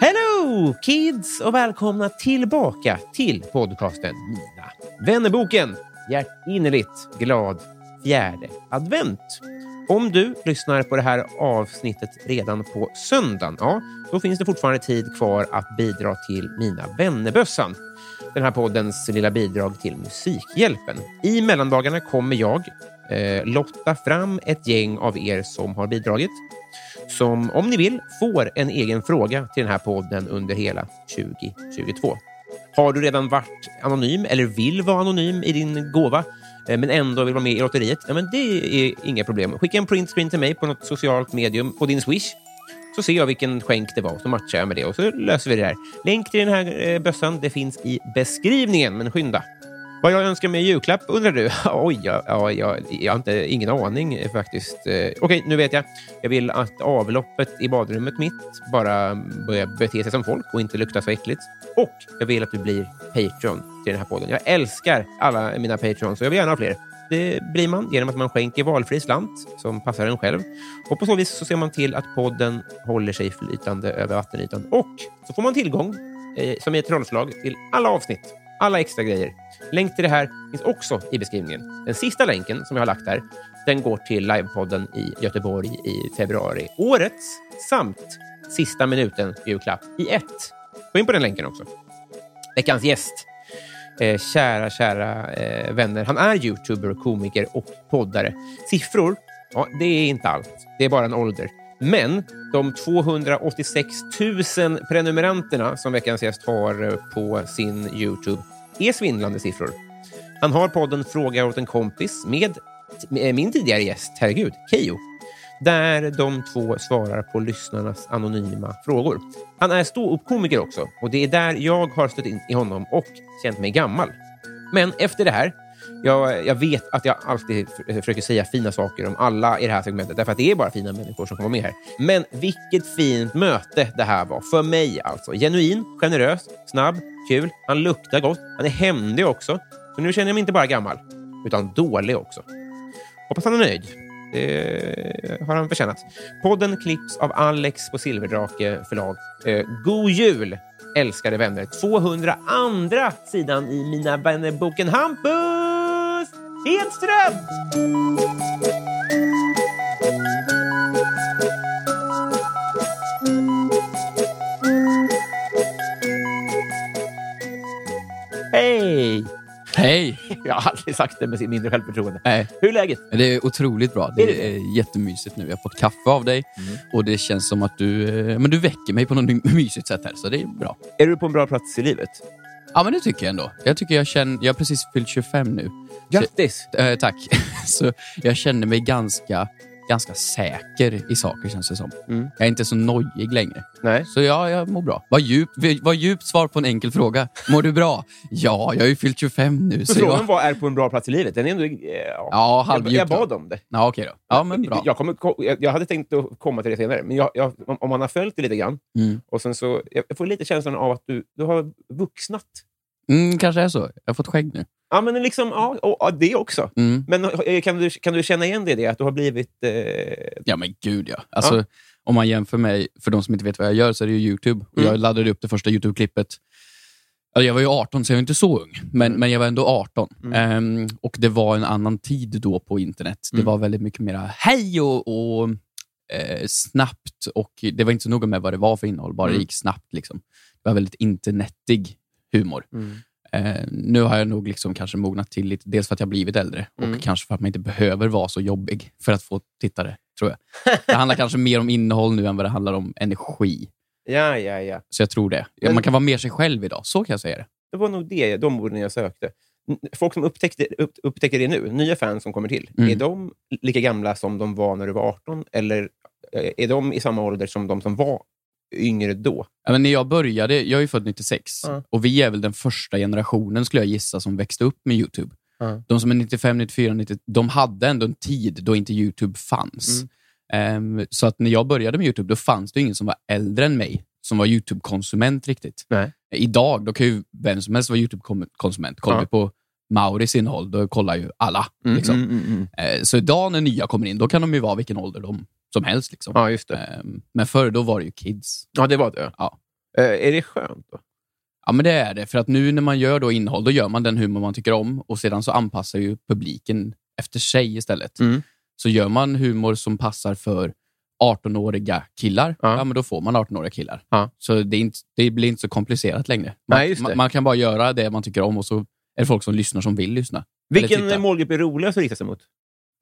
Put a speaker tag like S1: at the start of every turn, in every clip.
S1: Hello kids och välkomna tillbaka till podcasten Mina vännerboken. Hjärtinnerligt glad fjärde advent. Om du lyssnar på det här avsnittet redan på söndagen, ja, då finns det fortfarande tid kvar att bidra till Mina vännerbössan. Den här poddens lilla bidrag till Musikhjälpen. I mellandagarna kommer jag eh, lotta fram ett gäng av er som har bidragit som om ni vill får en egen fråga till den här podden under hela 2022. Har du redan varit anonym eller vill vara anonym i din gåva eh, men ändå vill vara med i lotteriet? Ja, men det är inga problem. Skicka en printscreen till mig på något socialt medium på din Swish så ser jag vilken skänk det var och så matchar jag med det och så löser vi det här. Länk till den här eh, bössan det finns i beskrivningen, men skynda. Vad jag önskar mig i julklapp undrar du? Oj, ja, ja, jag, jag har inte, ingen aning eh, faktiskt. Eh, Okej, nu vet jag. Jag vill att avloppet i badrummet mitt bara börjar bete sig som folk och inte lukta så äckligt. Och jag vill att du blir Patreon till den här podden. Jag älskar alla mina Patreons och jag vill gärna ha fler. Det blir man genom att man skänker valfri slant som passar en själv. Och På så vis så ser man till att podden håller sig flytande över vattenytan. Och så får man tillgång, eh, som i ett trollslag, till alla avsnitt. Alla extra grejer. Länk till det här finns också i beskrivningen. Den sista länken som jag har lagt här, den går till livepodden i Göteborg i februari. Årets samt sista minuten julklapp i ett. Gå in på den länken också. Veckans gäst eh, kära, kära eh, vänner. Han är youtuber, komiker och poddare. Siffror, ja, det är inte allt. Det är bara en ålder. Men de 286 000 prenumeranterna som veckans gäst har eh, på sin Youtube är svindlande siffror. Han har podden Fråga åt en kompis med eh, min tidigare gäst, herregud, Keyyo där de två svarar på lyssnarnas anonyma frågor. Han är ståuppkomiker också och det är där jag har stött in i honom och känt mig gammal. Men efter det här, jag, jag vet att jag alltid f- försöker säga fina saker om alla i det här segmentet, därför att det är bara fina människor som kommer med här. Men vilket fint möte det här var. För mig alltså. Genuin, generös, snabb, kul. Han luktar gott. Han är händig också. Så nu känner jag mig inte bara gammal, utan dålig också. Hoppas han är nöjd. Det har han förtjänat. Podden klipps av Alex på Silverdrake förlag. Eh, God jul, älskade vänner! 200 andra sidan i Mina vänner-boken Hampus Hedström! Hej!
S2: Hej!
S1: Jag har aldrig sagt det med sin mindre självförtroende.
S2: Nej,
S1: Hur är läget?
S2: men det är otroligt bra.
S1: Är det Mm.
S2: Det är jättemysigt nu. Jag har fått kaffe av dig och det känns som att du, eh, men du väcker mig på något mysigt sätt här, så det är bra.
S1: Är du på en bra plats i livet?
S2: Ja, men det tycker jag ändå. Jag tycker jag känner... Jag har precis fyllt 25 nu.
S1: Grattis!
S2: Så, eh, tack. Så jag känner mig ganska, ganska säker i saker, känns det som.
S1: Mm.
S2: Jag är inte så nojig längre.
S1: Nej.
S2: Så ja, jag mår bra. Vad djupt vad djupt svar på en enkel fråga. Mår du bra? Ja, jag har ju fyllt 25 nu. Så
S1: Frågan
S2: jag...
S1: var, är på en bra plats i livet? Den är ändå... eh, Ja,
S2: Ja,
S1: jag,
S2: halvdjupt.
S1: jag bad
S2: då.
S1: om det.
S2: Ja, okej då. Ja, men bra.
S1: Jag, kommer, ko- jag, jag hade tänkt att komma till det senare, men jag, jag, om- om man har följt det lite grann,
S2: Mm.
S1: och sen så, jag jag får lite känslan av att du, du har vuxnat.
S2: Mm, kanske är så. Jag har fått skägg nu.
S1: Ja, men liksom, ja, och, ja, det också.
S2: Mm.
S1: Men eh, kan du, kan du känna igen det, i det att du har blivit... Eh,
S2: Ja, men gud ja. Alltså, Om man jämför mig, för de som inte vet vad jag gör, så är det ju YouTube. Och
S1: Mm.
S2: Jag laddade upp det första YouTube-klippet Alltså, jag var ju 18, så jag var inte så ung. Men, men jag var ändå 18. Ehm, och det var en annan tid då på internet. Det var väldigt mycket mera hej och, och eh, snabbt. Och Det var inte så noga med vad det var för innehåll, bara det gick snabbt. Liksom. Det var väldigt internetig humor. Eh, nu har jag nog liksom kanske mognat till lite. Dels för att jag blivit äldre och kanske för att man inte behöver vara så jobbig för att få tittare, tror jag. Det handlar kanske mer om innehåll nu än vad det handlar om energi.
S1: Ja, ja, ja.
S2: Så jag tror det.
S1: Men-
S2: Man kan vara mer sig själv idag. Så kan jag säga det.
S1: Det var nog det, de orden jag sökte. N- Folk som upptäckte, upp, upptäcker det nu, nya fans som kommer till,
S2: Mm.
S1: är de lika gamla som de var när du var 18? Eller eh, är de i samma ålder som de som var yngre då?
S2: Ja, men när jag började, jag är ju född 96
S1: Ja.
S2: och vi är väl den första generationen skulle jag gissa som växte upp med Youtube.
S1: Ja.
S2: De som är 95, 94, 90, de hade ändå en tid då inte Youtube fanns.
S1: Mm.
S2: Ehm, så att när jag började med Youtube, då fanns det ju ingen som var äldre än mig som var Youtube-konsument riktigt.
S1: Nej.
S2: Idag, då kan ju vem som helst vara Youtube-konsument. Kollar
S1: Ja. Mm,
S2: vi på Mauris innehåll, då kollar ju alla. liksom. Eh, så idag när nya kommer in, då kan de ju vara vilken ålder de som helst. Liksom.
S1: Ja, just det.
S2: Ehm, men förr, då var det ju kids.
S1: Ja, det var det.
S2: Ja.
S1: Eh, Är det skönt? då?
S2: Ja, men det är det. För att nu när man gör då innehåll, då gör man den humor man tycker om och sedan så anpassar ju publiken efter sig istället.
S1: Mm.
S2: Så gör man humor som passar för 18-åriga killar,
S1: Ja.
S2: ja. men då får man 18-åriga killar.
S1: Ja.
S2: Så det, är inte, det blir inte så komplicerat längre. Man,
S1: Nej, just det.
S2: Man, man kan bara göra det man tycker om och så är det folk som lyssnar som vill lyssna. Eller titta.
S1: Vilken målgrupp är roligast att rikta sig mot?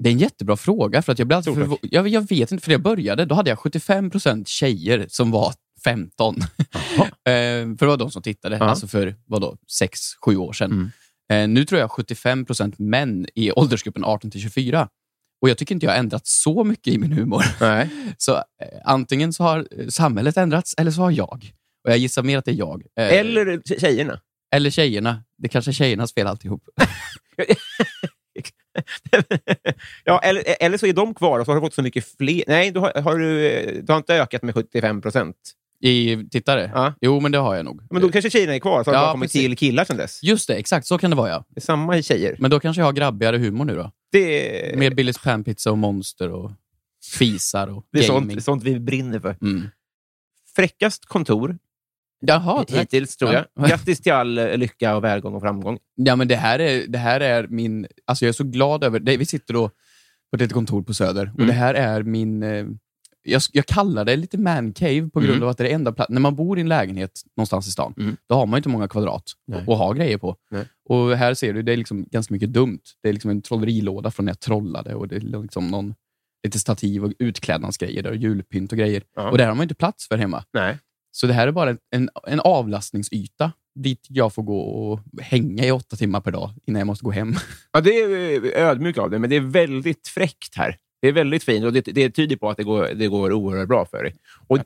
S2: Det är en jättebra fråga. För att jag, blev alltid
S1: Stort tack.
S2: förvå- jag, jag vet inte, för när jag började då hade jag 75% tjejer som var 15. Ehm, för det var de som tittade,
S1: Ja.
S2: alltså för vadå, 6-7 år sedan.
S1: Mm.
S2: Ehm, nu tror jag 75% män i åldersgruppen 18-24. Och jag tycker inte jag har ändrat så mycket i min humor.
S1: Nej.
S2: Så eh, antingen så har eh, samhället ändrats eller så har jag. Och jag gissar mer att det är jag. Eh,
S1: Eller tjejerna?
S2: eller tjejerna. Det kanske är tjejernas fel alltihop.
S1: ja, eller, eh, eller så är de kvar och så har du fått så mycket fler. Nej, du har, har du, eh, du har inte ökat med 75 procent.
S2: I tittare?
S1: Ja.
S2: Jo, men det har jag nog.
S1: Men då
S2: Eh,
S1: kanske tjejerna är kvar, så har
S2: Ja,
S1: det bara kommit
S2: precis.
S1: till killar sedan dess.
S2: Just det, exakt. Så kan det vara ja.
S1: Det är samma tjejer.
S2: Men då kanske jag har grabbigare humor nu då?
S1: Det,
S2: Mer Billys panpizza och monster och fisar och
S1: det är
S2: gaming.
S1: sånt, sånt vi brinner för.
S2: Mm.
S1: Fräckast kontor
S2: Jaha, tack.
S1: hittills, tror
S2: Ja.
S1: jag. Grattis till all eh, lycka, och välgång och framgång.
S2: Ja, men det, här är, det här är min... Alltså jag är så glad över... Det, vi sitter då på ett litet kontor på Söder och
S1: Mm.
S2: det här är min... eh, Jag, jag kallar det lite mancave på grund
S1: Mm.
S2: av att det är det enda platsen. När man bor i en lägenhet någonstans i stan,
S1: Mm.
S2: då har man ju inte många kvadrat
S1: Nej.
S2: att ha grejer på.
S1: Nej.
S2: Och här ser du, det är liksom ganska mycket dumt. Det är liksom en trollerilåda från när jag trollade och det är liksom någon, lite stativ och utklädnadsgrejer där och julpynt och grejer.
S1: Ja.
S2: Och det här har man ju inte plats för hemma.
S1: Nej.
S2: Så det här är bara en, en, en avlastningsyta dit jag får gå och hänga i åtta timmar per dag innan jag måste gå hem.
S1: Ja, det är eh, ödmjuk av dig, men det är väldigt fräckt här. Det är väldigt fint och det, det tyder på att det går, det går oerhört bra för dig. Och,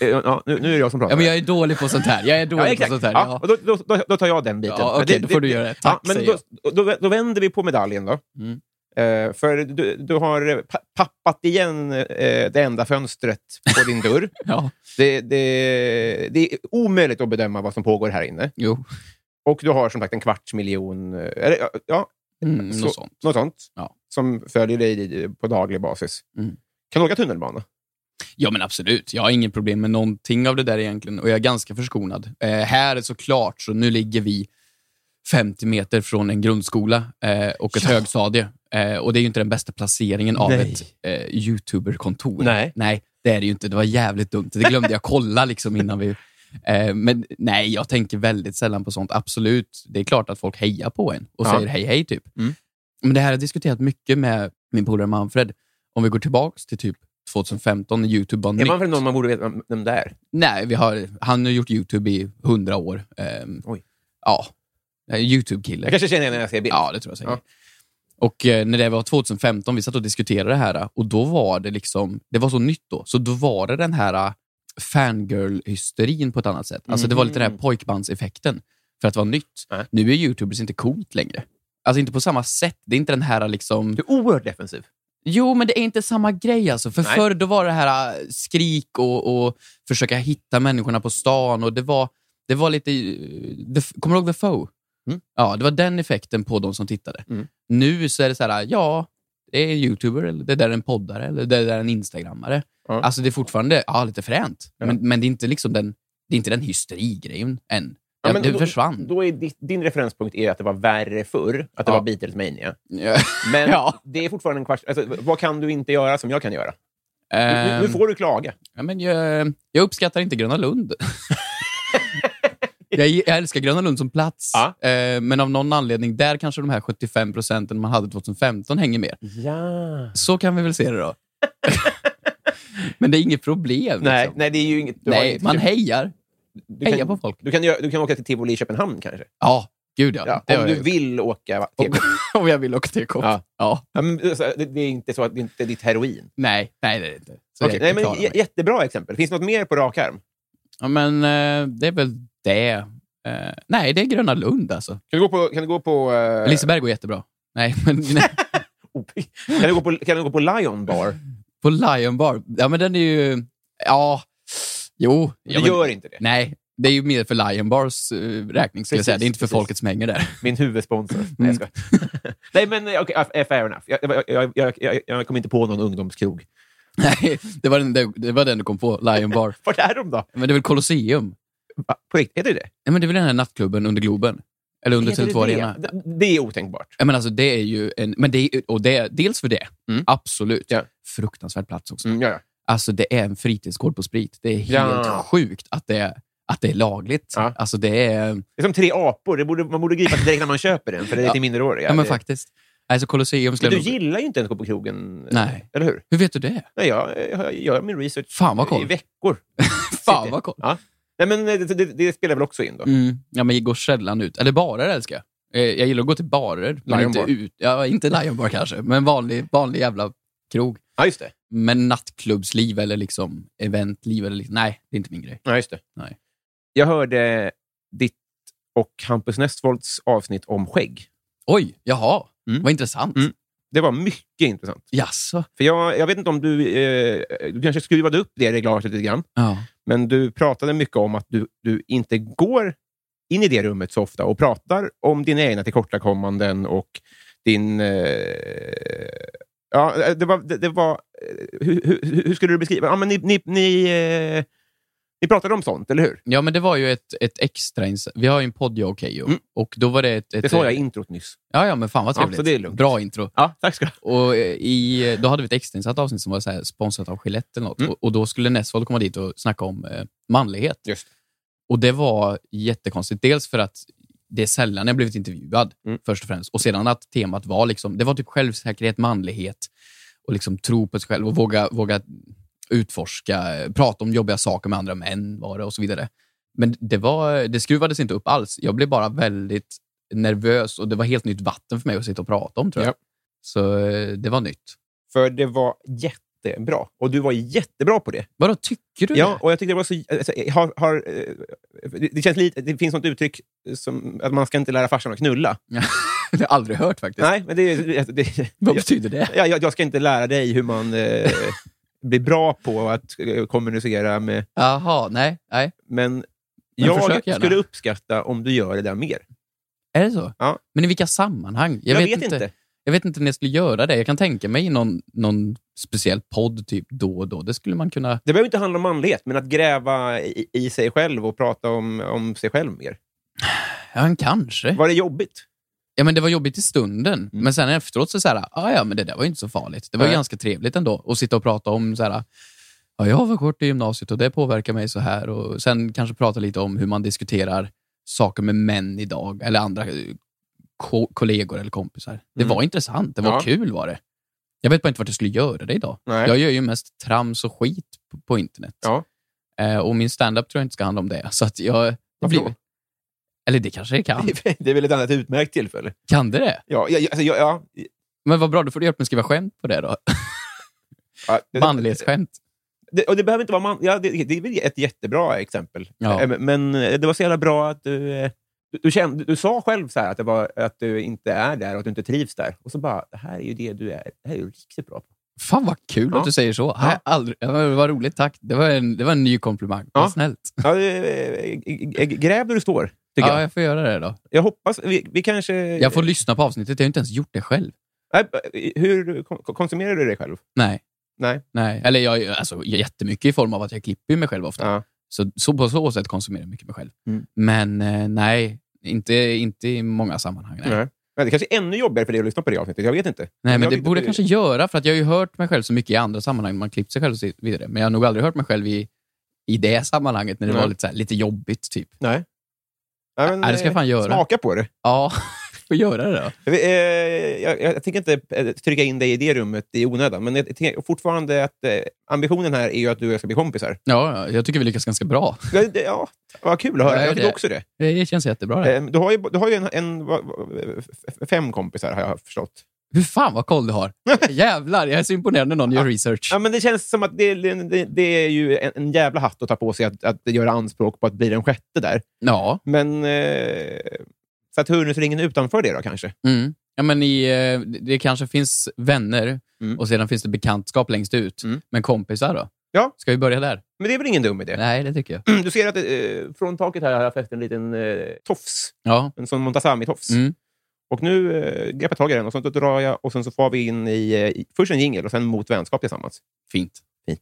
S1: eh, ja, nu, nu är det jag som pratar.
S2: Ja, men jag är dålig på sånt här. Jag är
S1: Ja,
S2: dålig på
S1: exakt.
S2: sånt här.
S1: Ja,
S2: Ja.
S1: och då, då, då, då tar jag den biten.
S2: Ja,
S1: Men
S2: okej, då får du göra det. Tack,
S1: men
S2: säger
S1: då, då, då vänder vi på medaljen då.
S2: Mm.
S1: Eh, för du, du har eh, pa- pappat igen eh, det enda fönstret på din dörr.
S2: Ja.
S1: Det, det, det är omöjligt att bedöma vad som pågår här inne.
S2: Jo,
S1: Och du har som sagt en kvarts miljon, eh, eller, ja, ja,
S2: mm,
S1: Så-
S2: något sånt.
S1: något sånt,
S2: Ja.
S1: som följer dig på daglig basis.
S2: Mm.
S1: Kan du åka tunnelbana?
S2: Ja, men absolut. Jag har inget problem med någonting av det där egentligen och jag är ganska förskonad. Eh, här är såklart, så nu ligger vi 50 meter från en grundskola eh, och ett högstadie. Eh, och det är ju inte den bästa placeringen av
S1: Nej.
S2: ett eh, YouTuber-kontor.
S1: Nej.
S2: nej, det är det ju inte. Det var jävligt dumt. Det glömde jag kolla liksom innan vi... Eh, men nej, jag tänker väldigt sällan på sånt. Absolut, det är klart att folk hejar på en och
S1: Ja.
S2: säger hej, hej typ.
S1: Mm.
S2: Men det här har jag diskuterat mycket med min polare Manfred. Om vi går tillbaka till typ 2015 när YouTube var
S1: Är
S2: nytt.
S1: man för någon man borde veta vem det är?
S2: Nej, vi har, han har gjort YouTube i hundra år. Ehm,
S1: Oj.
S2: Ja, Jag är en YouTube-kille.
S1: Jag kanske känner igen när jag ser bild.
S2: Ja, det tror jag säkert. Och eh, när det var 2015, vi satt och diskuterade det här och då var det liksom, det var så nytt då, så då var det den här eh, fangirl-hysterin på ett annat sätt. Alltså det var lite den här pojkbandseffekten för att vara nytt.
S1: Mm. Nej.
S2: Nu är YouTubers inte coolt längre. Alltså inte på samma sätt. Det är inte den här liksom...
S1: Du är oerhört defensiv.
S2: Jo, men det är inte samma grej. Alltså. För
S1: Nej.
S2: Förr då var det här äh, skrik och, och försöka hitta människorna på stan. Och det var, det var lite... eh, The, kommer du ihåg The Foe?
S1: Mm.
S2: Ja, det var den effekten på de som tittade.
S1: Mm.
S2: Nu så är det så här, äh, ja, det är en youtuber, eller det där är en poddare, eller det där är en instagrammare.
S1: Ja.
S2: Alltså det är fortfarande ja, lite fränt,
S1: Ja.
S2: men, men det, är inte liksom den, det är inte den hysterigrejen än. Ja,
S1: men
S2: det
S1: då-
S2: försvann.
S1: Då är ditt, din referenspunkt är att det var värre förr, att det
S2: Ja.
S1: var Beatles-mania.
S2: Ja.
S1: Men
S2: Ja.
S1: det är fortfarande en kvarts... Alltså, vad kan du inte göra som jag kan göra? Nu, nu- nu får du klaga.
S2: Ja, men jag, jag uppskattar inte Gröna Lund. jag, jag älskar Gröna Lund som plats,
S1: Ja.
S2: eh, men av någon anledning, där kanske de här 75 procenten man hade 2015 hänger med.
S1: Mm. Ja.
S2: Så kan vi väl se det då. men det är inget problem.
S1: Nej,
S2: liksom.
S1: nej, det är ju inget... du har
S2: nej
S1: inget-
S2: man hejar.
S1: du
S2: hejar på folk.
S1: Du kan, göra, du kan åka till Tivoli i Köpenhamn kanske.
S2: Ja, gud ja.
S1: Ja,
S2: Det har
S1: om
S2: jag
S1: du
S2: gjort.
S1: vill åka va, till...
S2: Om, jag vill åka till Coop.
S1: Ja.
S2: Ja.
S1: Ja, men, alltså, det, det är inte så att det är inte ditt heroin.
S2: Nej, nej det är det inte. Så
S1: Okej,
S2: jag
S1: nej, men,
S2: klarar
S1: j-
S2: mig.
S1: jättebra exempel. Finns det något mer på rak arm?
S2: ja, men eh, det är väl det. Eh, nej, det är Gröna Lund alltså.
S1: Kan du gå på... Kan du gå på eh,
S2: Liseberg går jättebra. Nej, men nej.
S1: oh, kan, du gå på kan du gå på Lion Bar?
S2: På Lion Bar? Ja, men den är ju... Ja, jo.
S1: Du
S2: Ja, men,
S1: gör inte det.
S2: Nej, det är ju mer för Lion Bars eh, räkning, skulle jag
S1: Precis,
S2: säga. Det är inte för
S1: precis.
S2: folket som hänger där.
S1: Min huvudsponsor.
S2: Mm.
S1: Nej, jag skojar. Nej, men eh, okej, eh, fair enough. Jag, jag, jag, jag, jag, jag kom inte på någon ungdomskrog.
S2: Nej, det var, den, det, det var den du kom på, Lion Bar.
S1: Vart är de då?
S2: Men det är väl Colosseum?
S1: Va? På riktigt, heter det det
S2: Nej, men det är väl den här nattklubben under Globen? Eller under
S1: Heter det?
S2: Tele2 Arena?
S1: det? Det- Det är otänkbart.
S2: Ja, men alltså, det är ju en... Men det är, och det, dels för det,
S1: Mm.
S2: absolut.
S1: Ja.
S2: Fruktansvärd plats också.
S1: Mm, ja, ja.
S2: Alltså det är en fritidsgård på sprit. Det är helt
S1: Ja.
S2: sjukt att det, att det är lagligt.
S1: Ja.
S2: Alltså det är...
S1: Det är som tre apor. Det borde, man borde gripa direkt när man köper den, för det är
S2: Ja.
S1: till minderåriga.
S2: Ja, men
S1: Det-
S2: faktiskt. Alltså Colosseum
S1: Men
S2: skulle
S1: du
S2: jag nog-
S1: gillar ju inte ens att gå på krogen.
S2: Nej.
S1: Eller hur?
S2: Hur vet du det?
S1: Nej, jag, jag gör min research
S2: Fan, vad
S1: i
S2: koll.
S1: veckor.
S2: Fan vad coolt.
S1: Ja. Nej, men eh, det, det, det spelar väl också in då?
S2: Mm. Ja, men jag går sällan ut. Eller barer älskar jag. Eh, Jag gillar att gå till barer. Men
S1: Lion
S2: inte
S1: Bar.
S2: ut. Ja, inte Lion Bar kanske, men vanlig, vanlig jävla krog.
S1: Ja, just det.
S2: Men nattklubbsliv eller liksom eventliv, eller liksom, nej, det är inte min grej.
S1: Ja, just det.
S2: Nej.
S1: Jag hörde ditt och Hampus Nessvolds avsnitt om skägg.
S2: Oj, jaha.
S1: Mm.
S2: Vad intressant.
S1: Mm. Det var mycket intressant.
S2: Jaså?
S1: För jag, jag vet inte om du... Eh, du kanske skruvade upp det reglaget lite grann,
S2: Ja.
S1: men du pratade mycket om att du, du inte går in i det rummet så ofta och pratar om dina egna tillkortakommanden och din... Eh, ja, det var... Det, det var eh, hur, hur, hur skulle du beskriva? Ja, men ni, ni, ni, eh, ni pratade om sånt, eller hur?
S2: ja, men det var ju ett, ett extra... ins- Vi har ju en podd, jag och Keyyo.
S1: Mm.
S2: Och då var det ett... ett
S1: Det sa jag i introt nyss.
S2: Ja, ja, men fan vad
S1: Ja,
S2: trevligt.
S1: så det är lugnt.
S2: Bra intro.
S1: Ja, tack ska du ha.
S2: Och eh, i, då hade vi ett extrainsatt avsnitt som var så här sponsrat av Gillette eller något.
S1: Mm.
S2: Och, och då skulle Nessvold komma dit och snacka om eh, manlighet.
S1: Just.
S2: Och det var jättekonstigt. Dels för att det är sällan jag blivit intervjuad,
S1: Mm.
S2: först och främst. Och sedan att temat var liksom, det var typ självsäkerhet, manlighet och liksom tro på sig själv och våga, våga utforska, eh, prata om jobbiga saker med andra män var det och så vidare. Men det, var, det skruvades inte upp alls. Jag blev bara väldigt nervös och det var helt nytt vatten för mig att sitta och prata om, tror jag.
S1: Ja.
S2: Så eh, det var nytt.
S1: För det var jättebra. Och du var jättebra på det.
S2: Vadå, tycker du
S1: Ja,
S2: det?
S1: och jag tyckte det var så... Alltså, jag har, har, eh, det, det känns lite... Det finns något uttryck som att man ska inte lära farsan att knulla.
S2: det har jag aldrig hört faktiskt.
S1: Nej, men det, är- det, det,
S2: Vad betyder det?
S1: jag, jag, jag ska inte lära dig hur man eh, blir bra på att eh, kommunicera med...
S2: Jaha, nej, nej.
S1: Men,
S2: försök
S1: jag
S2: gärna.
S1: skulle uppskatta om du gör det där mer.
S2: Är det så?
S1: Ja.
S2: Men i vilka sammanhang? Jag, Jag vet inte när jag skulle göra det. Jag kan tänka mig någon, någon speciell podd typ då och då. Det skulle man kunna...
S1: Det behöver inte handla om manlighet, men att gräva i, i sig själv och prata om, om sig själv mer.
S2: Ja, men kanske.
S1: Var det jobbigt?
S2: Ja, men det var jobbigt i stunden,
S1: Mm.
S2: men sen efteråt så, så här, ah, ja, men det där var ju inte så farligt. Det var ju
S1: Nej.
S2: ganska trevligt ändå att sitta och prata om så här, ja, jag var kort i gymnasiet och det påverkar mig så här. Och sen kanske prata lite om hur man diskuterar saker med män idag eller andra eh, ko- kollegor eller kompisar. Det
S1: Mm.
S2: var intressant. Det var
S1: Ja.
S2: kul var det. Jag vet bara inte vart jag skulle göra det idag.
S1: Nej.
S2: Jag gör ju mest trams och skit på, på internet.
S1: Ja.
S2: Eh, och min standup tror jag inte ska handla om det. Så att jag... Det
S1: Varför
S2: blir,
S1: då?
S2: eller det kanske det kan.
S1: Det är väl ett annat utmärkt tillfälle.
S2: Kan det det?
S1: Ja, jag, jag- alltså, jag, ja,
S2: Men vad bra, då får du hjälpa mig att skriva skämt på det då.
S1: ja, det-
S2: Manlighetsskämt.
S1: Det, och det behöver inte vara man. Ja, det, det är väl ett jättebra exempel.
S2: Ja.
S1: Eh, Men men det var så jävla bra att du... eh, Du, du, kände, du sa själv så här att, det var, att du inte är där och att du inte trivs där. Och så bara, det här är ju det du är. Det här är ju riktigt bra på.
S2: Fan vad kul
S1: Ja.
S2: att du säger så. Ja. Aldrig, ja, men vad roligt, tack. Det var en, det var en ny komplimang.
S1: Ja.
S2: Vad snällt.
S1: Ja, det- eh, eh, gräv där du står, tycker
S2: Ja,
S1: jag. Eh.
S2: jag får göra det då.
S1: Jag hoppas... Vi, vi kanske...
S2: Jag får lyssna på avsnittet. Jag har ju inte ens gjort det själv.
S1: Nej, hur kon- konsumerar du dig själv?
S2: Nej.
S1: Nej.
S2: Nej. Eller jag, alltså, jättemycket i form av att jag klipper ju mig själv ofta.
S1: Ja.
S2: Så, så på så sätt konsumerar jag mycket mig själv.
S1: Mm.
S2: Men eh, nej, inte, inte i många sammanhang. Nej.
S1: Nej. Men det kanske är ännu jobbigare för dig att lyssna på det avsnittet. Jag vet inte.
S2: Nej, men
S1: jag
S2: det
S1: vet
S2: borde jag
S1: inte.
S2: kanske göra, för att jag har ju hört mig själv så mycket i andra sammanhang. Man klippt sig själv och så vidare. Men jag har nog aldrig hört mig själv i, i det sammanhanget, när det
S1: Nej.
S2: var lite, så här, lite jobbigt. typ.
S1: Nej. Ja, men,
S2: Nej, det ska jag
S1: eh,
S2: fan göra.
S1: Smaka på det.
S2: Ja, får göra det då.
S1: Jag, vet- eh, jag, jag, jag tänker inte eh, trycka in dig i det rummet i onödan, men jag, jag tänker fortfarande att eh, ambitionen här är ju att du och jag ska bli kompisar.
S2: Ja, ja, jag tycker vi lyckas ganska bra.
S1: Ja, det- ja vad kul att höra.
S2: Ja,
S1: jag
S2: det-
S1: tycker också det.
S2: Det känns jättebra. Det.
S1: Eh, Du har ju, du har ju en, en, vad- vad- f- fem kompisar, har jag förstått.
S2: Hur fan vad koll du har. Jävlar, jag är så imponerad när någon gör research.
S1: Ja, men det känns som att det, det, det är ju en, en jävla hatt att ta på sig att, att göra anspråk på att bli den sjätte där.
S2: Ja,
S1: Men eh, Saturnusringen utanför det då kanske?
S2: mm. ja men i, eh, det- det kanske finns vänner
S1: Mm.
S2: och sedan finns det bekantskap längst ut.
S1: Mm.
S2: Men kompisar då?
S1: Ja.
S2: Ska vi börja där?
S1: Men det är väl ingen dum idé?
S2: Nej, det tycker jag.
S1: Du ser att eh, från taket här har jag fäst en liten eh, tofs.
S2: Ja.
S1: En sån Montazami-tofs.
S2: Mm.
S1: Och nu eh, greppar jag tag i den och så drar jag och sen så får vi in i, eh, i först en jingel och sen mot vänskap tillsammans.
S2: Fint.
S1: Fint.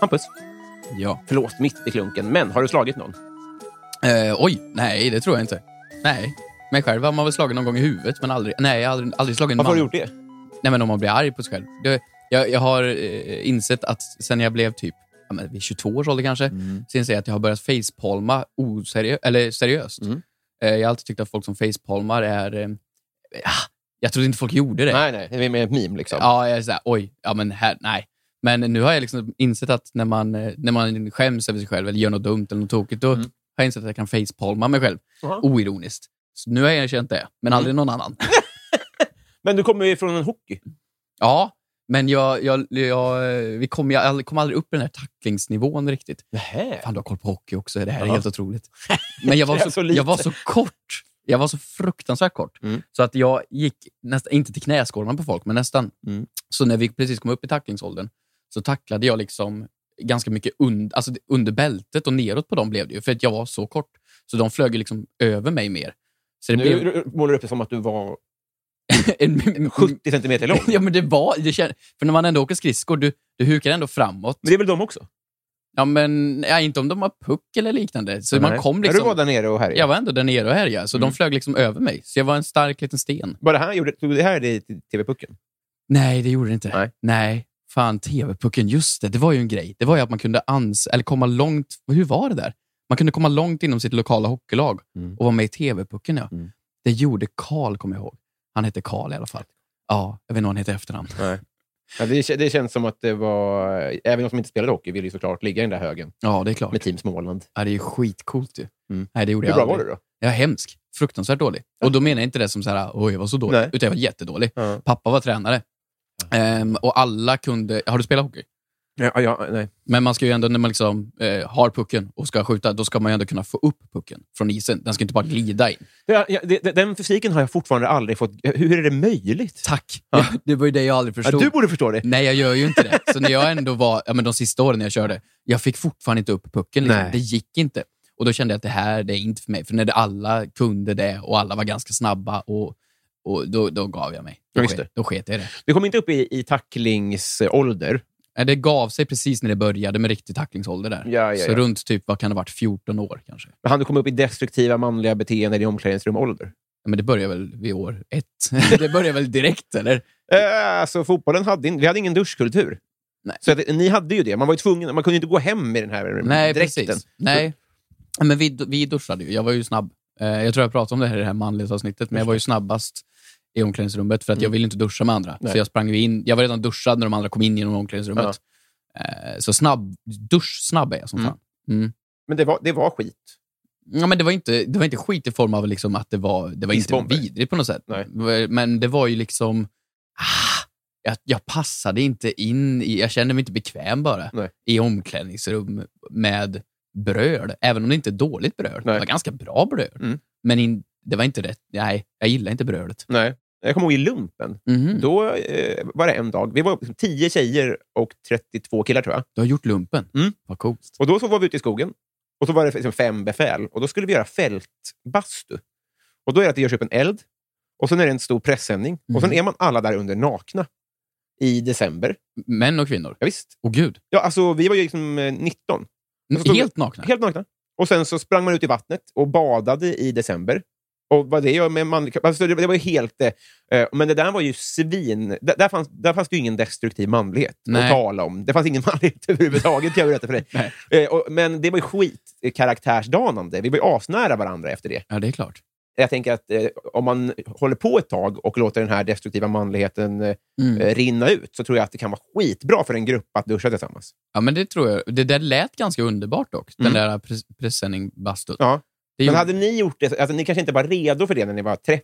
S1: Hampus,
S2: Ja.
S1: förlåt mitt i klunken, men har du slagit någon?
S2: Eh, oj, nej, det tror jag inte. Nej. Mig själv har man väl slagit någon gång i huvudet, men aldrig, nej, jag har aldrig, aldrig slagit en man.
S1: Varför har du gjort det?
S2: Nej, men om man blir arg på sig själv. Jag, jag, jag har eh, insett att sen jag blev typ ja, men vid 22 års ålder kanske,
S1: Mm.
S2: så inser jag att jag har börjat facepalma oseriö- eller seriöst.
S1: Mm.
S2: Eh, jag har alltid tyckt att folk som facepalmar är... Eh, ah, jag trodde inte folk gjorde det.
S1: Nej, nej. Det är mer ett meme liksom.
S2: Ja, jag är såhär, oj, ja men här, nej. Men nu har jag liksom insett att när man, eh, när man skäms över sig själv eller gör något dumt eller något tokigt, då har jag insett att jag kan facepalma mig själv.
S1: Aha.
S2: Oironiskt. Så nu har jag erkänt det, men aldrig någon annan.
S1: Men du kommer ju från en hockey.
S2: Ja, men jag, jag, jag, eh, vi kom, jag aldrig- kom aldrig upp i den här tacklingsnivån riktigt.
S1: Nähä.
S2: Fan, du har koll på hockey också. Det här är
S1: Ja.
S2: helt otroligt. Men jag var,
S1: Det är
S2: så,
S1: så lite.
S2: jag var så kort. Jag var så fruktansvärt kort.
S1: Mm.
S2: Så att jag gick, nästan, inte till knäskålarna på folk, men nästan.
S1: Mm.
S2: Så när vi precis kom upp i tacklingsåldern så tacklade jag liksom ganska mycket und, alltså det- under bältet och neråt på dem blev det ju, för att jag var så kort. Så de flög ju liksom över mig mer. Så det
S1: Nu
S2: blev
S1: r- målar du upp det som att du var
S2: en, en,
S1: 70 centimeter lång.
S2: Ja, men det var... Det känns, för när man ändå åker skridskor, du, du hukar ändå framåt.
S1: Men det är väl de också?
S2: Ja, men ja, inte om de har puck eller liknande. Så man
S1: Nej.
S2: kom
S1: Ja,
S2: liksom...
S1: Du var där nere och här.
S2: Jag var ändå där nere och härjade, så
S1: Mm.
S2: de flög liksom över mig. Så jag var en stark liten sten.
S1: Var det här gjorde, tog det här dig till TV-pucken?
S2: Nej, det gjorde det inte.
S1: Nej.
S2: Fan, TV-pucken. Just det, det var ju en grej. Det var ju att man kunde ans eller komma långt... Hur var det där? Man kunde komma långt inom sitt lokala hockeylag
S1: Mm.
S2: och vara med i TV-pucken. Ja.
S1: Mm.
S2: Det gjorde Karl, kommer jag ihåg. Han hette Karl i alla fall. Ja, jag vet inte vad han heter i efternamn.
S1: Nej. Ja, det, kä- det känns som att det var... Även de som inte spelade hockey ville ju såklart ligga i den där högen
S2: Ja, det är klart.
S1: med Team Småland.
S2: Ja, det är ju skitcoolt ju.
S1: Mm.
S2: Nej, det gjorde
S1: Hur
S2: jag
S1: bra
S2: aldrig.
S1: var du då?
S2: Jag är hemsk. Fruktansvärt dålig. Och då menar jag inte det som så här, oj, jag var så dålig.
S1: Nej.
S2: Utan jag var jättedålig.
S1: Ja.
S2: Pappa var tränare. Ehm, och alla kunde... Har du spelat hockey?
S1: Ja, ja, nej.
S2: Men man ska ju ändå, när man liksom eh, har pucken och ska skjuta, då ska man ju ändå kunna få upp pucken från isen. Den ska inte bara glida in.
S1: Det, ja, det, det- den fysiken har jag fortfarande aldrig fått... Hur är det möjligt?
S2: Tack! Ja. Det var ju det jag aldrig
S1: Ja,
S2: förstod.
S1: du borde förstå det.
S2: Nej, jag gör ju inte det. Så när jag ändå var, ja, men de sista åren jag körde, jag fick fortfarande inte upp pucken. Liksom.
S1: Nej.
S2: Det gick inte. Och då kände jag att det här, det är inte för mig. För när det, alla kunde det och alla var ganska snabba, och, och då, då gav jag mig. Då,
S1: Ja, just
S2: ske- då sket jag i det.
S1: Du kom inte upp i, i tacklingsålder.
S2: Nej, Det gav sig precis när det började med riktig tacklingsålder där.
S1: Ja, ja,
S2: Så
S1: ja.
S2: runt typ, vad kan det ha varit, 14 år kanske.
S1: Men Han du kom upp i destruktiva manliga beteenden i omklädningsrumålder.
S2: Ja, Men det börjar väl vid år ett? det börjar väl direkt, eller?
S1: Eh, Alltså, fotbollen hade in, vi hade ingen duschkultur.
S2: Nej.
S1: Så att, ni hade ju det. Man var ju tvungen, man kunde ju inte gå hem med den här
S2: Nej,
S1: dräkten.
S2: precis. Nej. Ja, Men vi, vi duschade ju. Jag var ju snabb. Eh, Jag tror jag pratade om det här i det här manlighetsavsnittet, men jag var ju snabbast i omklädningsrummet för att jag ville inte duscha med andra.
S1: Mm. Nej.
S2: Så jag sprang ju in. Jag var redan duschad när de andra kom in genom omklädningsrummet. Eh, Så snabb, duschsnabb är jag som
S1: Mm.
S2: fan. Mm.
S1: Men det var, det var skit.
S2: Ja, men det, var inte, det var inte skit i form av liksom att det var, det var inte
S1: Isbomber.
S2: vidrigt på något sätt.
S1: Nej.
S2: Men det var ju liksom... Ah, jag, jag passade inte in. I, jag kände mig inte bekväm bara
S1: Nej.
S2: i omklädningsrum med bröd. Även om det inte är dåligt bröd.
S1: Nej.
S2: Det var ganska bra bröd.
S1: Mm.
S2: Men in, det var inte rätt. Nej, jag gillar inte brödet.
S1: Nej. Jag kommer ihåg i lumpen.
S2: Mhm.
S1: Då eh, var det en dag. Vi var liksom 10 tjejer och 32 killar, tror jag.
S2: Du har gjort lumpen.
S1: Mm.
S2: Vad coolt.
S1: Och då så var vi ute i skogen. Och så var det liksom fem befäl. Och då skulle vi göra fältbastu. Och då är det att det görs upp en eld. Och sen är det en stor pressändning. Och sen
S2: Mm.
S1: är man alla där under nakna. I december.
S2: Män och kvinnor.
S1: Ja, visst.
S2: Åh gud.
S1: Ja, alltså, vi var ju liksom eh, 19. Och så stod-
S2: Helt nakna?
S1: Helt nakna. Och sen så sprang man ut i vattnet och badade i december. Och vad det gör med manlig kropp- alltså det, det var ju helt... Eh, men det där var ju svin... Där, där, fanns, där fanns det ju ingen destruktiv manlighet
S2: Nej.
S1: att tala om. Det fanns ingen manlighet överhuvudtaget, kan jag berätta för dig.
S2: Nej.
S1: Eh, och, men det var ju skitkaraktärsdanande. Vi var ju asnära varandra efter det.
S2: Ja, det är klart.
S1: Jag tänker att eh, om man håller på ett tag och låter den här destruktiva manligheten eh,
S2: Mm.
S1: rinna ut, så tror jag att det kan vara skitbra för en grupp att duscha tillsammans.
S2: Ja, men det tror jag. Det där lät ganska underbart dock.
S1: Mm.
S2: Den där pres- presenning-bastut.
S1: Ja.
S2: Det
S1: Men
S2: gjorde-
S1: hade ni gjort det... Alltså, ni kanske inte var redo för det när ni var 13,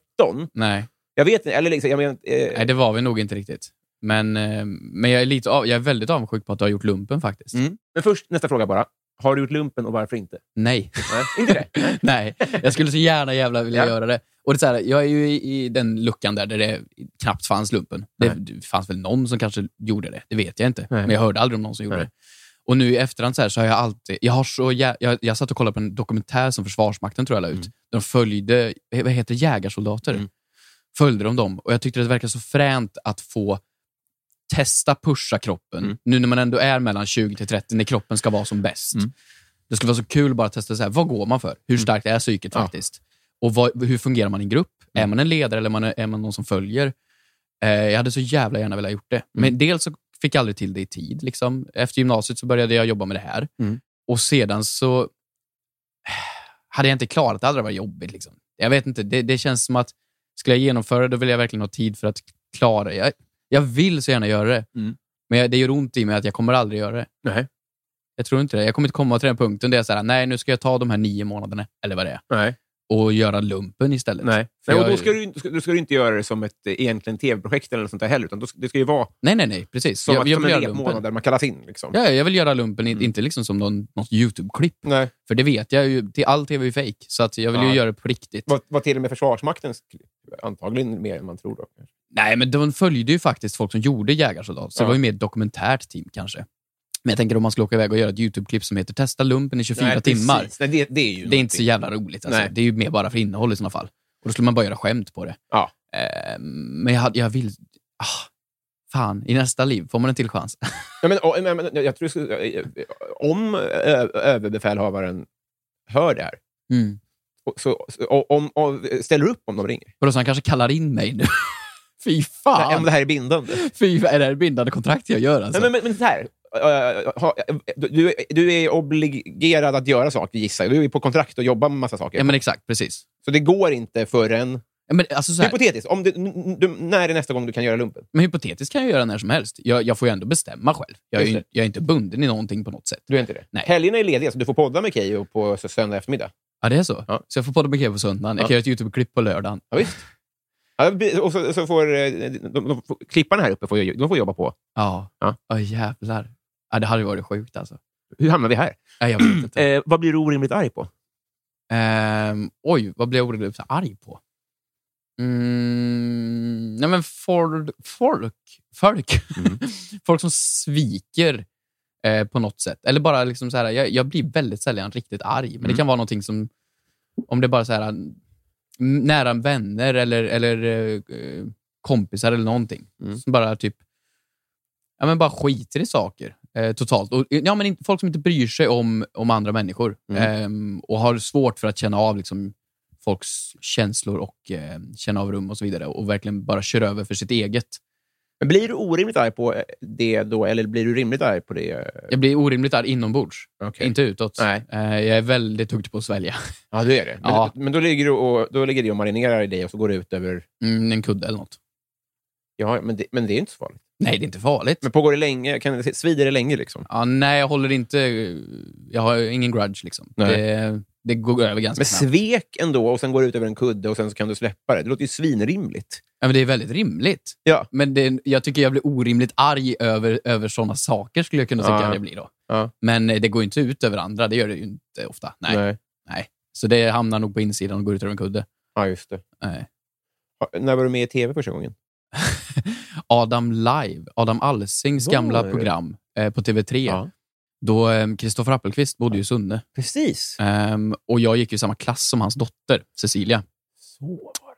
S2: Nej.
S1: Jag vet inte. Eller liksom, jag menar, eh,
S2: Nej, det var vi nog inte riktigt. Men, eh, men jag, är lite av, jag är väldigt avundsjuk på att du har gjort lumpen faktiskt.
S1: mm. Men först, nästa fråga bara. Har du gjort lumpen och varför inte?
S2: Nej.
S1: Nej, inte det? Nej.
S2: Nej, jag skulle så gärna jävla vilja
S1: Ja.
S2: göra det. Och det är så här, jag är ju i, i den luckan där, där det knappt fanns lumpen. Det, det fanns väl någon som kanske gjorde det, det vet jag inte. Men jag hörde aldrig om någon som gjorde
S1: Nej.
S2: det. Och nu i efterhand så, här, så har jag alltid... Jag, har så jä, jag, jag satt och kollade på en dokumentär som Försvarsmakten tror jag la
S1: Mm.
S2: ut. De följde, eh, vad heter det, jägarsoldater. Följde de dem och jag tyckte det verkade så fränt att få testa pusha kroppen.
S1: Mm.
S2: Nu när man ändå är mellan 20 till 30, när kroppen ska vara som bäst.
S1: Mm.
S2: Det skulle vara så kul bara att testa så här, vad går man för? Hur starkt är psyket faktiskt? Och vad, hur fungerar man i en grupp?
S1: Mm.
S2: Är man en ledare eller är man, är man någon som följer? Eh, jag hade så jävla gärna velat gjort det.
S1: Mm.
S2: Men dels så fick jag aldrig till det i tid. Liksom. Efter gymnasiet så började jag jobba med det här.
S1: Mm.
S2: Och sedan så eh, hade jag inte klarat det, hade det varit jobbigt. Liksom. Jag vet inte, det, det känns som att skulle jag genomföra det, då vill jag verkligen ha tid för att klara det. Jag, jag vill så gärna göra det,
S1: Mm.
S2: men jag, det gör ont i mig att jag kommer aldrig göra det.
S1: Nej.
S2: Jag tror inte det. Jag kommer inte komma till den punkten där jag säger nej, nu ska jag ta de här nio månaderna, eller vad det är,
S1: Nej.
S2: och göra lumpen istället.
S1: Nej.
S2: För
S1: och
S2: jag-
S1: då ska du, då ska, då ska du inte göra det som ett eh, egentligen tv-projekt eller något sånt där heller. Utan då, ska- det ska ju vara
S2: nej, nej, nej, precis.
S1: som,
S2: jag,
S1: att,
S2: jag
S1: som
S2: vill
S1: en Mm.
S2: göra
S1: repmånad
S2: lumpen.
S1: där man kallas in. Liksom.
S2: Ja, jag vill göra lumpen, in- inte liksom som någon, något YouTube-klipp.
S1: Nej.
S2: För det vet jag ju, till all tv är ju fake, så att jag vill
S1: Ja.
S2: ju göra det på riktigt.
S1: Vad, vad till och med Försvarsmaktens antagligen mer än man tror. Då.
S2: Nej, men de följde ju faktiskt folk som gjorde jägarsoldat, så
S1: Ja.
S2: det var ju mer ett dokumentärt team kanske. Men jag tänker om man skulle åka iväg och göra ett YouTube-klipp som heter “Testa lumpen i 24
S1: Nej, precis.
S2: timmar”.
S1: Nej, det, det är ju
S2: Det är inte så jävla roligt. Alltså.
S1: Nej.
S2: Det är ju mer bara för innehåll i sådana fall. Och Då skulle man bara göra skämt på det.
S1: Ja.
S2: Eh, men jag, hade- jag vill... Ah, fan, i nästa liv får man en till chans.
S1: Ja, men, och, men, men, jag tror, jag skulle- om ö, överbefälhavaren hör det här,
S2: Mm.
S1: och, så, så- och, om, och, ställer upp om de ringer.
S2: Och då så han kanske kallar in mig nu. Fy
S1: Nej, om
S2: fan!
S1: det här är bindande.
S2: Fy, är det här bindande kontrakt jag gör alltså?
S1: Nej, men, men så här. Eh, ha- Du, du är obligerad att göra saker, gissar jag. Du är på kontrakt och jobbar med massa saker.
S2: ja, men exakt, precis.
S1: Så det går inte förrän...
S2: Ja, Men, alltså, så här,
S1: Hypotetiskt, om du, n- du, när är nästa gång du kan göra lumpen?
S2: men hypotetiskt kan jag göra när som helst. Jag, jag får ju ändå bestämma själv. Jag är,
S1: Just
S2: ju, jag är inte bunden i någonting på något sätt.
S1: Du är inte det?
S2: Nej.
S1: Helgerna är lediga, så du får podda med Keyyo på s- söndag eftermiddag.
S2: Ja, det är så.
S1: Ja.
S2: Så jag får podda med Kevin på söndagen.
S1: Ja.
S2: Jag kan göra ett YouTube-klipp på lördagen.
S1: Ja, visst. Ja, bi- och så, så får eh, de, de, de, får- klipparna här uppe får, ju- de får jobba på.
S2: Ja.
S1: Ja.
S2: Ja, jävlar. Ja, det hade varit sjukt alltså.
S1: Hur hamnar vi här?
S2: Ja, jag vet inte.
S1: Eh, vad blir du orimligt arg på?
S2: Ehm, oj, vad blev jag orimligt så arg på? Mm, nej men for, folk, folk. folk som sviker eh, på något sätt. Eller bara liksom så här, jag, jag blir väldigt sällan riktigt arg, men det kan vara någonting som, om det är bara så här, n- nära vänner eller, eller eh, kompisar eller någonting, som bara typ ja, men bara skiter i saker eh, totalt. Och, ja, men inte, folk som inte bryr sig om, om andra människor
S1: Mm.
S2: ehm, och har svårt för att känna av liksom, folks känslor och eh, känna av rum och så vidare och verkligen bara kör över för sitt eget.
S1: Men blir du orimligt arg på eh, det då, eller blir du rimligt arg på det? eh?
S2: Jag blir orimligt arg inombords,
S1: Okej.
S2: inte utåt.
S1: Nej.
S2: Eh, jag är väldigt duktig på att svälja
S1: Ja, du är det. Men,
S2: Ja.
S1: men då, ligger du och, då ligger det och marinerar i dig och så går det ut över
S2: mm, en kudde eller något.
S1: Ja, men det, men det är inte så farligt.
S2: Nej, det är inte farligt.
S1: Men pågår det länge? Kan, svider det länge? liksom?
S2: Ja, nej, jag håller inte... Jag har ingen grudge. liksom.
S1: Nej.
S2: Det, det går över ganska
S1: Men
S2: snabbt.
S1: svek ändå, och sen går det ut över en kudde och sen så kan du släppa det. Det låter ju svinrimligt.
S2: Ja, men det är väldigt rimligt.
S1: Ja.
S2: Men det, jag tycker jag blir orimligt arg över, över sådana saker, skulle jag kunna tycka
S1: Ja.
S2: att jag blir då.
S1: Ja.
S2: Men eh, det går ju inte ut över andra. Det gör det ju inte ofta. Nej.
S1: Nej.
S2: Nej. Så det hamnar nog på insidan och går ut över en kudde.
S1: Ja, just det.
S2: Nej.
S1: Har- När var du med i tv första gången?
S2: Adam Live, Adam Alsings
S1: Var
S2: gamla
S1: det?
S2: program eh, på TV3. Då Kristoffer Appelqvist bodde ju i Sunne.
S1: precis.
S2: Ehm, och jag gick ju i samma klass som hans dotter, Cecilia.
S1: Så var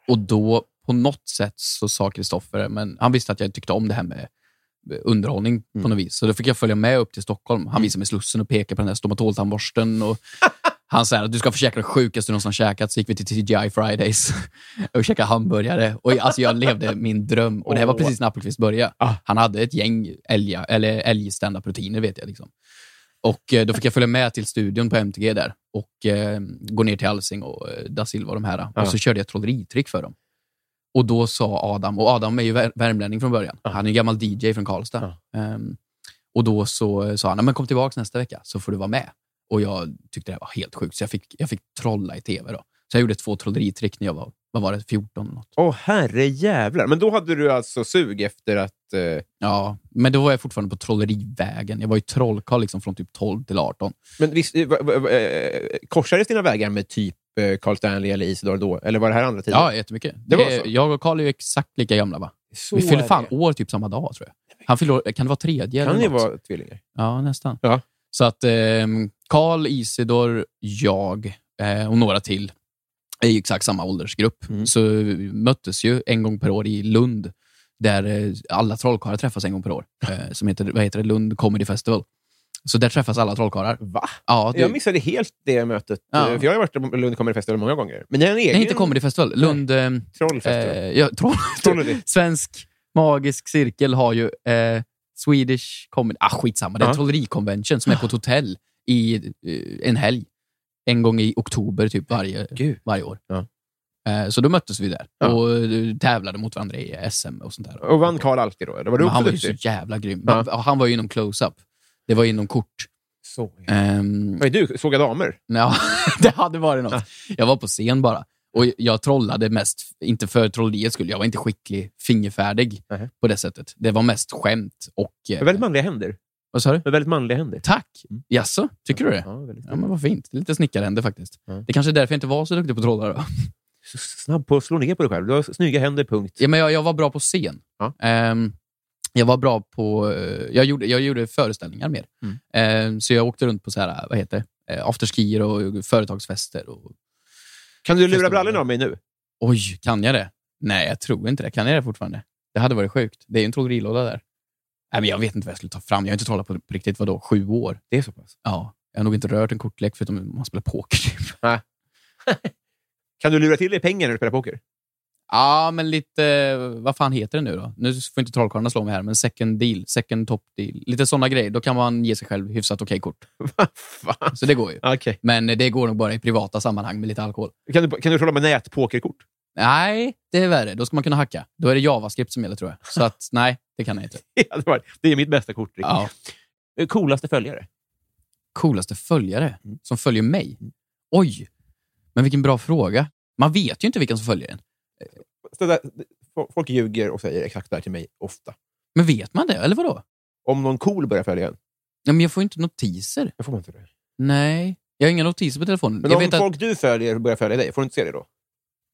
S1: det.
S2: Och då på något sätt så sa Kristoffer, men han visste att jag tyckte om det här med eh, underhållning på
S1: Mm.
S2: något vis. Så då fick jag följa med upp till Stockholm. Han visade mig Slussen och pekade på den där stomatoltandborsten. Och han sa att du ska få käka det sjukaste du någonsin har käkat. Så gick vi till TGI Fridays och käkade hamburgare. Och jag, alltså jag levde min dröm. Och det här var
S1: Åh.
S2: precis när Appelqvist började.
S1: Ah.
S2: Han hade ett gäng älga, eller älgstända proteiner vet jag. Liksom. Och eh, då fick jag följa med till studion på MTG där och eh, gå ner till Alsing och eh, da Silva och de här.
S1: Ja.
S2: Och så körde jag ett trolleritrick för dem. Och då sa Adam, och Adam är ju vär- värmlänning från början. Han är en gammal DJ från Karlstad. Ehm, och då så eh, sa han, "Nej, men kom tillbaka nästa vecka så får du vara med. Och jag tyckte det här var helt sjukt, så jag fick, jag fick trolla i tv då. Så jag gjorde två trolleritrick när jag var, vad var det, 14 eller något.
S1: Åh, herre jävlar. Men då hade du alltså sug efter att... eh,
S2: Ja, men då var jag fortfarande på trollerivägen. Jag var ju trollkarl liksom från typ 12 till 18.
S1: Men visst, eh, va- va- va- eh, korsades dina vägar med typ eh, Carl Stanley eller Isidor då? Eller var det här andra tiden?
S2: Ja, jättemycket.
S1: Det var
S2: Eh,
S1: så.
S2: Jag och Karl är ju exakt lika gamla va?
S1: Så
S2: Vi fyllde
S1: är
S2: fan
S1: det.
S2: år typ samma dag tror jag. Han fyllde år, kan det vara tredje?
S1: Kan
S2: eller
S1: ju
S2: något?
S1: vara tvillingar.
S2: Ja, nästan.
S1: Ja.
S2: Så att ehm, Karl, Isidor, jag eh, och några till är ju exakt samma åldersgrupp.
S1: Mm.
S2: Så vi möttes ju en gång per år i Lund, där eh, alla trollkarlar träffas en gång per år. Eh, som heter, vad heter det? Lund Comedy Festival. Så där träffas alla trollkarlar.
S1: Va?
S2: Ja, det,
S1: Jag missade helt det mötet.
S2: Ja.
S1: eh, För jag har varit på Lund Comedy Festival många gånger. Men ni har en egen
S2: nej, inte Comedy Festival. Lund... ehm,
S1: trollfestival.
S2: Eh, ja, troll,
S1: Trolleri.
S2: svensk magisk cirkel har ju eh, Swedish comedy... Ah, skitsamma. Det är en
S1: Ja.
S2: trollerikonvention som är på ett hotell i eh, en helg. En gång i oktober typ varje,
S1: Gud.
S2: varje år.
S1: Ja.
S2: Eh, så då möttes vi där
S1: Ja.
S2: och eh, tävlade mot varandra i SM och sånt där.
S1: Och vann Karl alltid då? Eller var du
S2: Men han
S1: också
S2: var ju så
S1: duktig?
S2: jävla grym.
S1: Ja.
S2: Han- Han var ju inom close-up. Det var ju inom kort.
S1: Så.
S2: Ehm,
S1: Vad är du? Såga damer?
S2: Ja, det hade varit något. Jag var på scen bara. Och jag trollade mest, inte för trolleriets skull, jag var inte skicklig, fingerfärdig
S1: Nej.
S2: på det sättet. Det var mest skämt och... eh,
S1: Med väldigt manliga händer.
S2: Vad sa du?
S1: Med väldigt manliga händer.
S2: Tack! Jaså, tycker du det?
S1: Ja, väldigt.
S2: Ja, men vad fint. Det är lite snickarhänder faktiskt.
S1: Ja.
S2: Det kanske är därför jag inte var så duktig på trollar. Då.
S1: Så Snabb på att slå ner på dig själv. Du har snygga händer, punkt.
S2: Ja, men jag, jag var bra på scen.
S1: Ja.
S2: Ehm, jag var bra på... eh, Jag gjorde, jag gjorde föreställningar mer.
S1: Mm.
S2: Ehm, så jag åkte runt på så här, vad heter det? Eh, afterskier och företagsfester och
S1: Kan du lura
S2: Festival.
S1: brallorna av mig nu?
S2: Oj, kan jag det? Nej, jag tror inte det. Kan jag det fortfarande? Det hade varit sjukt. Det är ju en trollerilåda där. Nej, men jag vet inte vad jag skulle ta fram. Jag har inte trollat på på riktigt, vadå, sju år?
S1: Det är så pass.
S2: Ja, jag har nog inte rört en kortlek förutom om man spelar poker. typ. Ja,
S1: Kan du lura till dig pengar när du spelar poker?
S2: men lite... Vad fan heter det nu då? Nu får inte trollkarlarna slå mig här, men second deal, second top deal. Lite sådana grejer. Då kan man ge sig själv hyfsat okej kort.
S1: Vad Ah, fan?
S2: Så det går ju.
S1: Okej.
S2: Men eh, det går nog bara i privata sammanhang med lite alkohol.
S1: Kan du, kan du trolla med nätpokerkort?
S2: Nej, det är värre. Då ska man kunna hacka. Då är det JavaScript som gäller, tror jag. Så att, nej, det kan jag inte.
S1: Ja, det var- det är mitt bästa kort. Rick.
S2: Ja.
S1: Coolaste följare?
S2: coolaste följare
S1: Mm.
S2: som följer mig? Oj, men vilken bra fråga. Man vet ju inte vilken som följer en.
S1: Så där, folk ljuger och säger exakt det här till mig ofta.
S2: Men vet man det, eller vadå?
S1: Om någon cool börjar följa en,
S2: Ja, men jag får ju inte notiser.
S1: då får man inte det.
S2: Nej, jag har inga notiser på telefonen.
S1: Men
S2: jag
S1: om
S2: vet att,
S1: folk du följer börjar följa dig, får du inte se det då?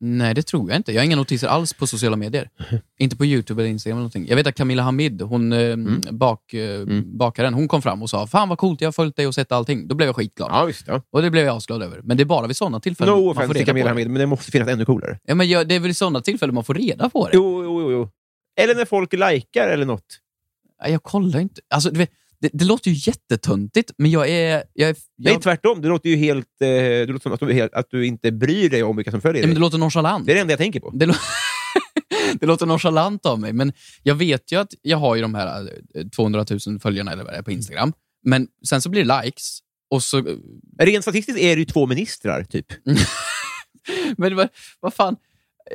S2: nej, det tror jag inte. Jag har inga notiser alls på sociala medier. inte på YouTube eller Instagram eller någonting. Jag vet att Camilla Hamid, hon, eh,
S1: Mm.
S2: bak, eh, bakaren, hon kom fram och sa Fan vad coolt, jag har följt dig och sett allting. Då blev jag skitglad.
S1: visst. Ja.
S2: Och det blev jag asglad över. Men det är bara vid sådana
S1: No
S2: tillfällen man får
S1: offense till
S2: reda
S1: Camilla
S2: på det.
S1: Hamid, men det måste finnas ännu coolare.
S2: Ja, men jag, det är väl i sådana tillfällen man får reda på det.
S1: Jo, jo, jo. jo. Eller när folk likar eller något.
S2: Nej, Jag kollar inte. Alltså, du vet, det, det låter ju jättetöntigt, men jag är... Jag är jag,
S1: Nej, tvärtom. Det låter ju helt... Eh, det låter som att du, helt, att du inte bryr dig om vilka som följer
S2: Nej, men
S1: dig.
S2: det låter nonchalant.
S1: Det är det enda jag tänker på.
S2: Det, lå- det låter nonchalant av mig, men jag vet ju att jag har ju de här eh, 200 000 följarna eller vad det är på
S1: Mm.
S2: Instagram. Men sen så blir det likes. Och så,
S1: Rent statistiskt är det ju två ministrar, typ.
S2: Mm. men vad, vad fan,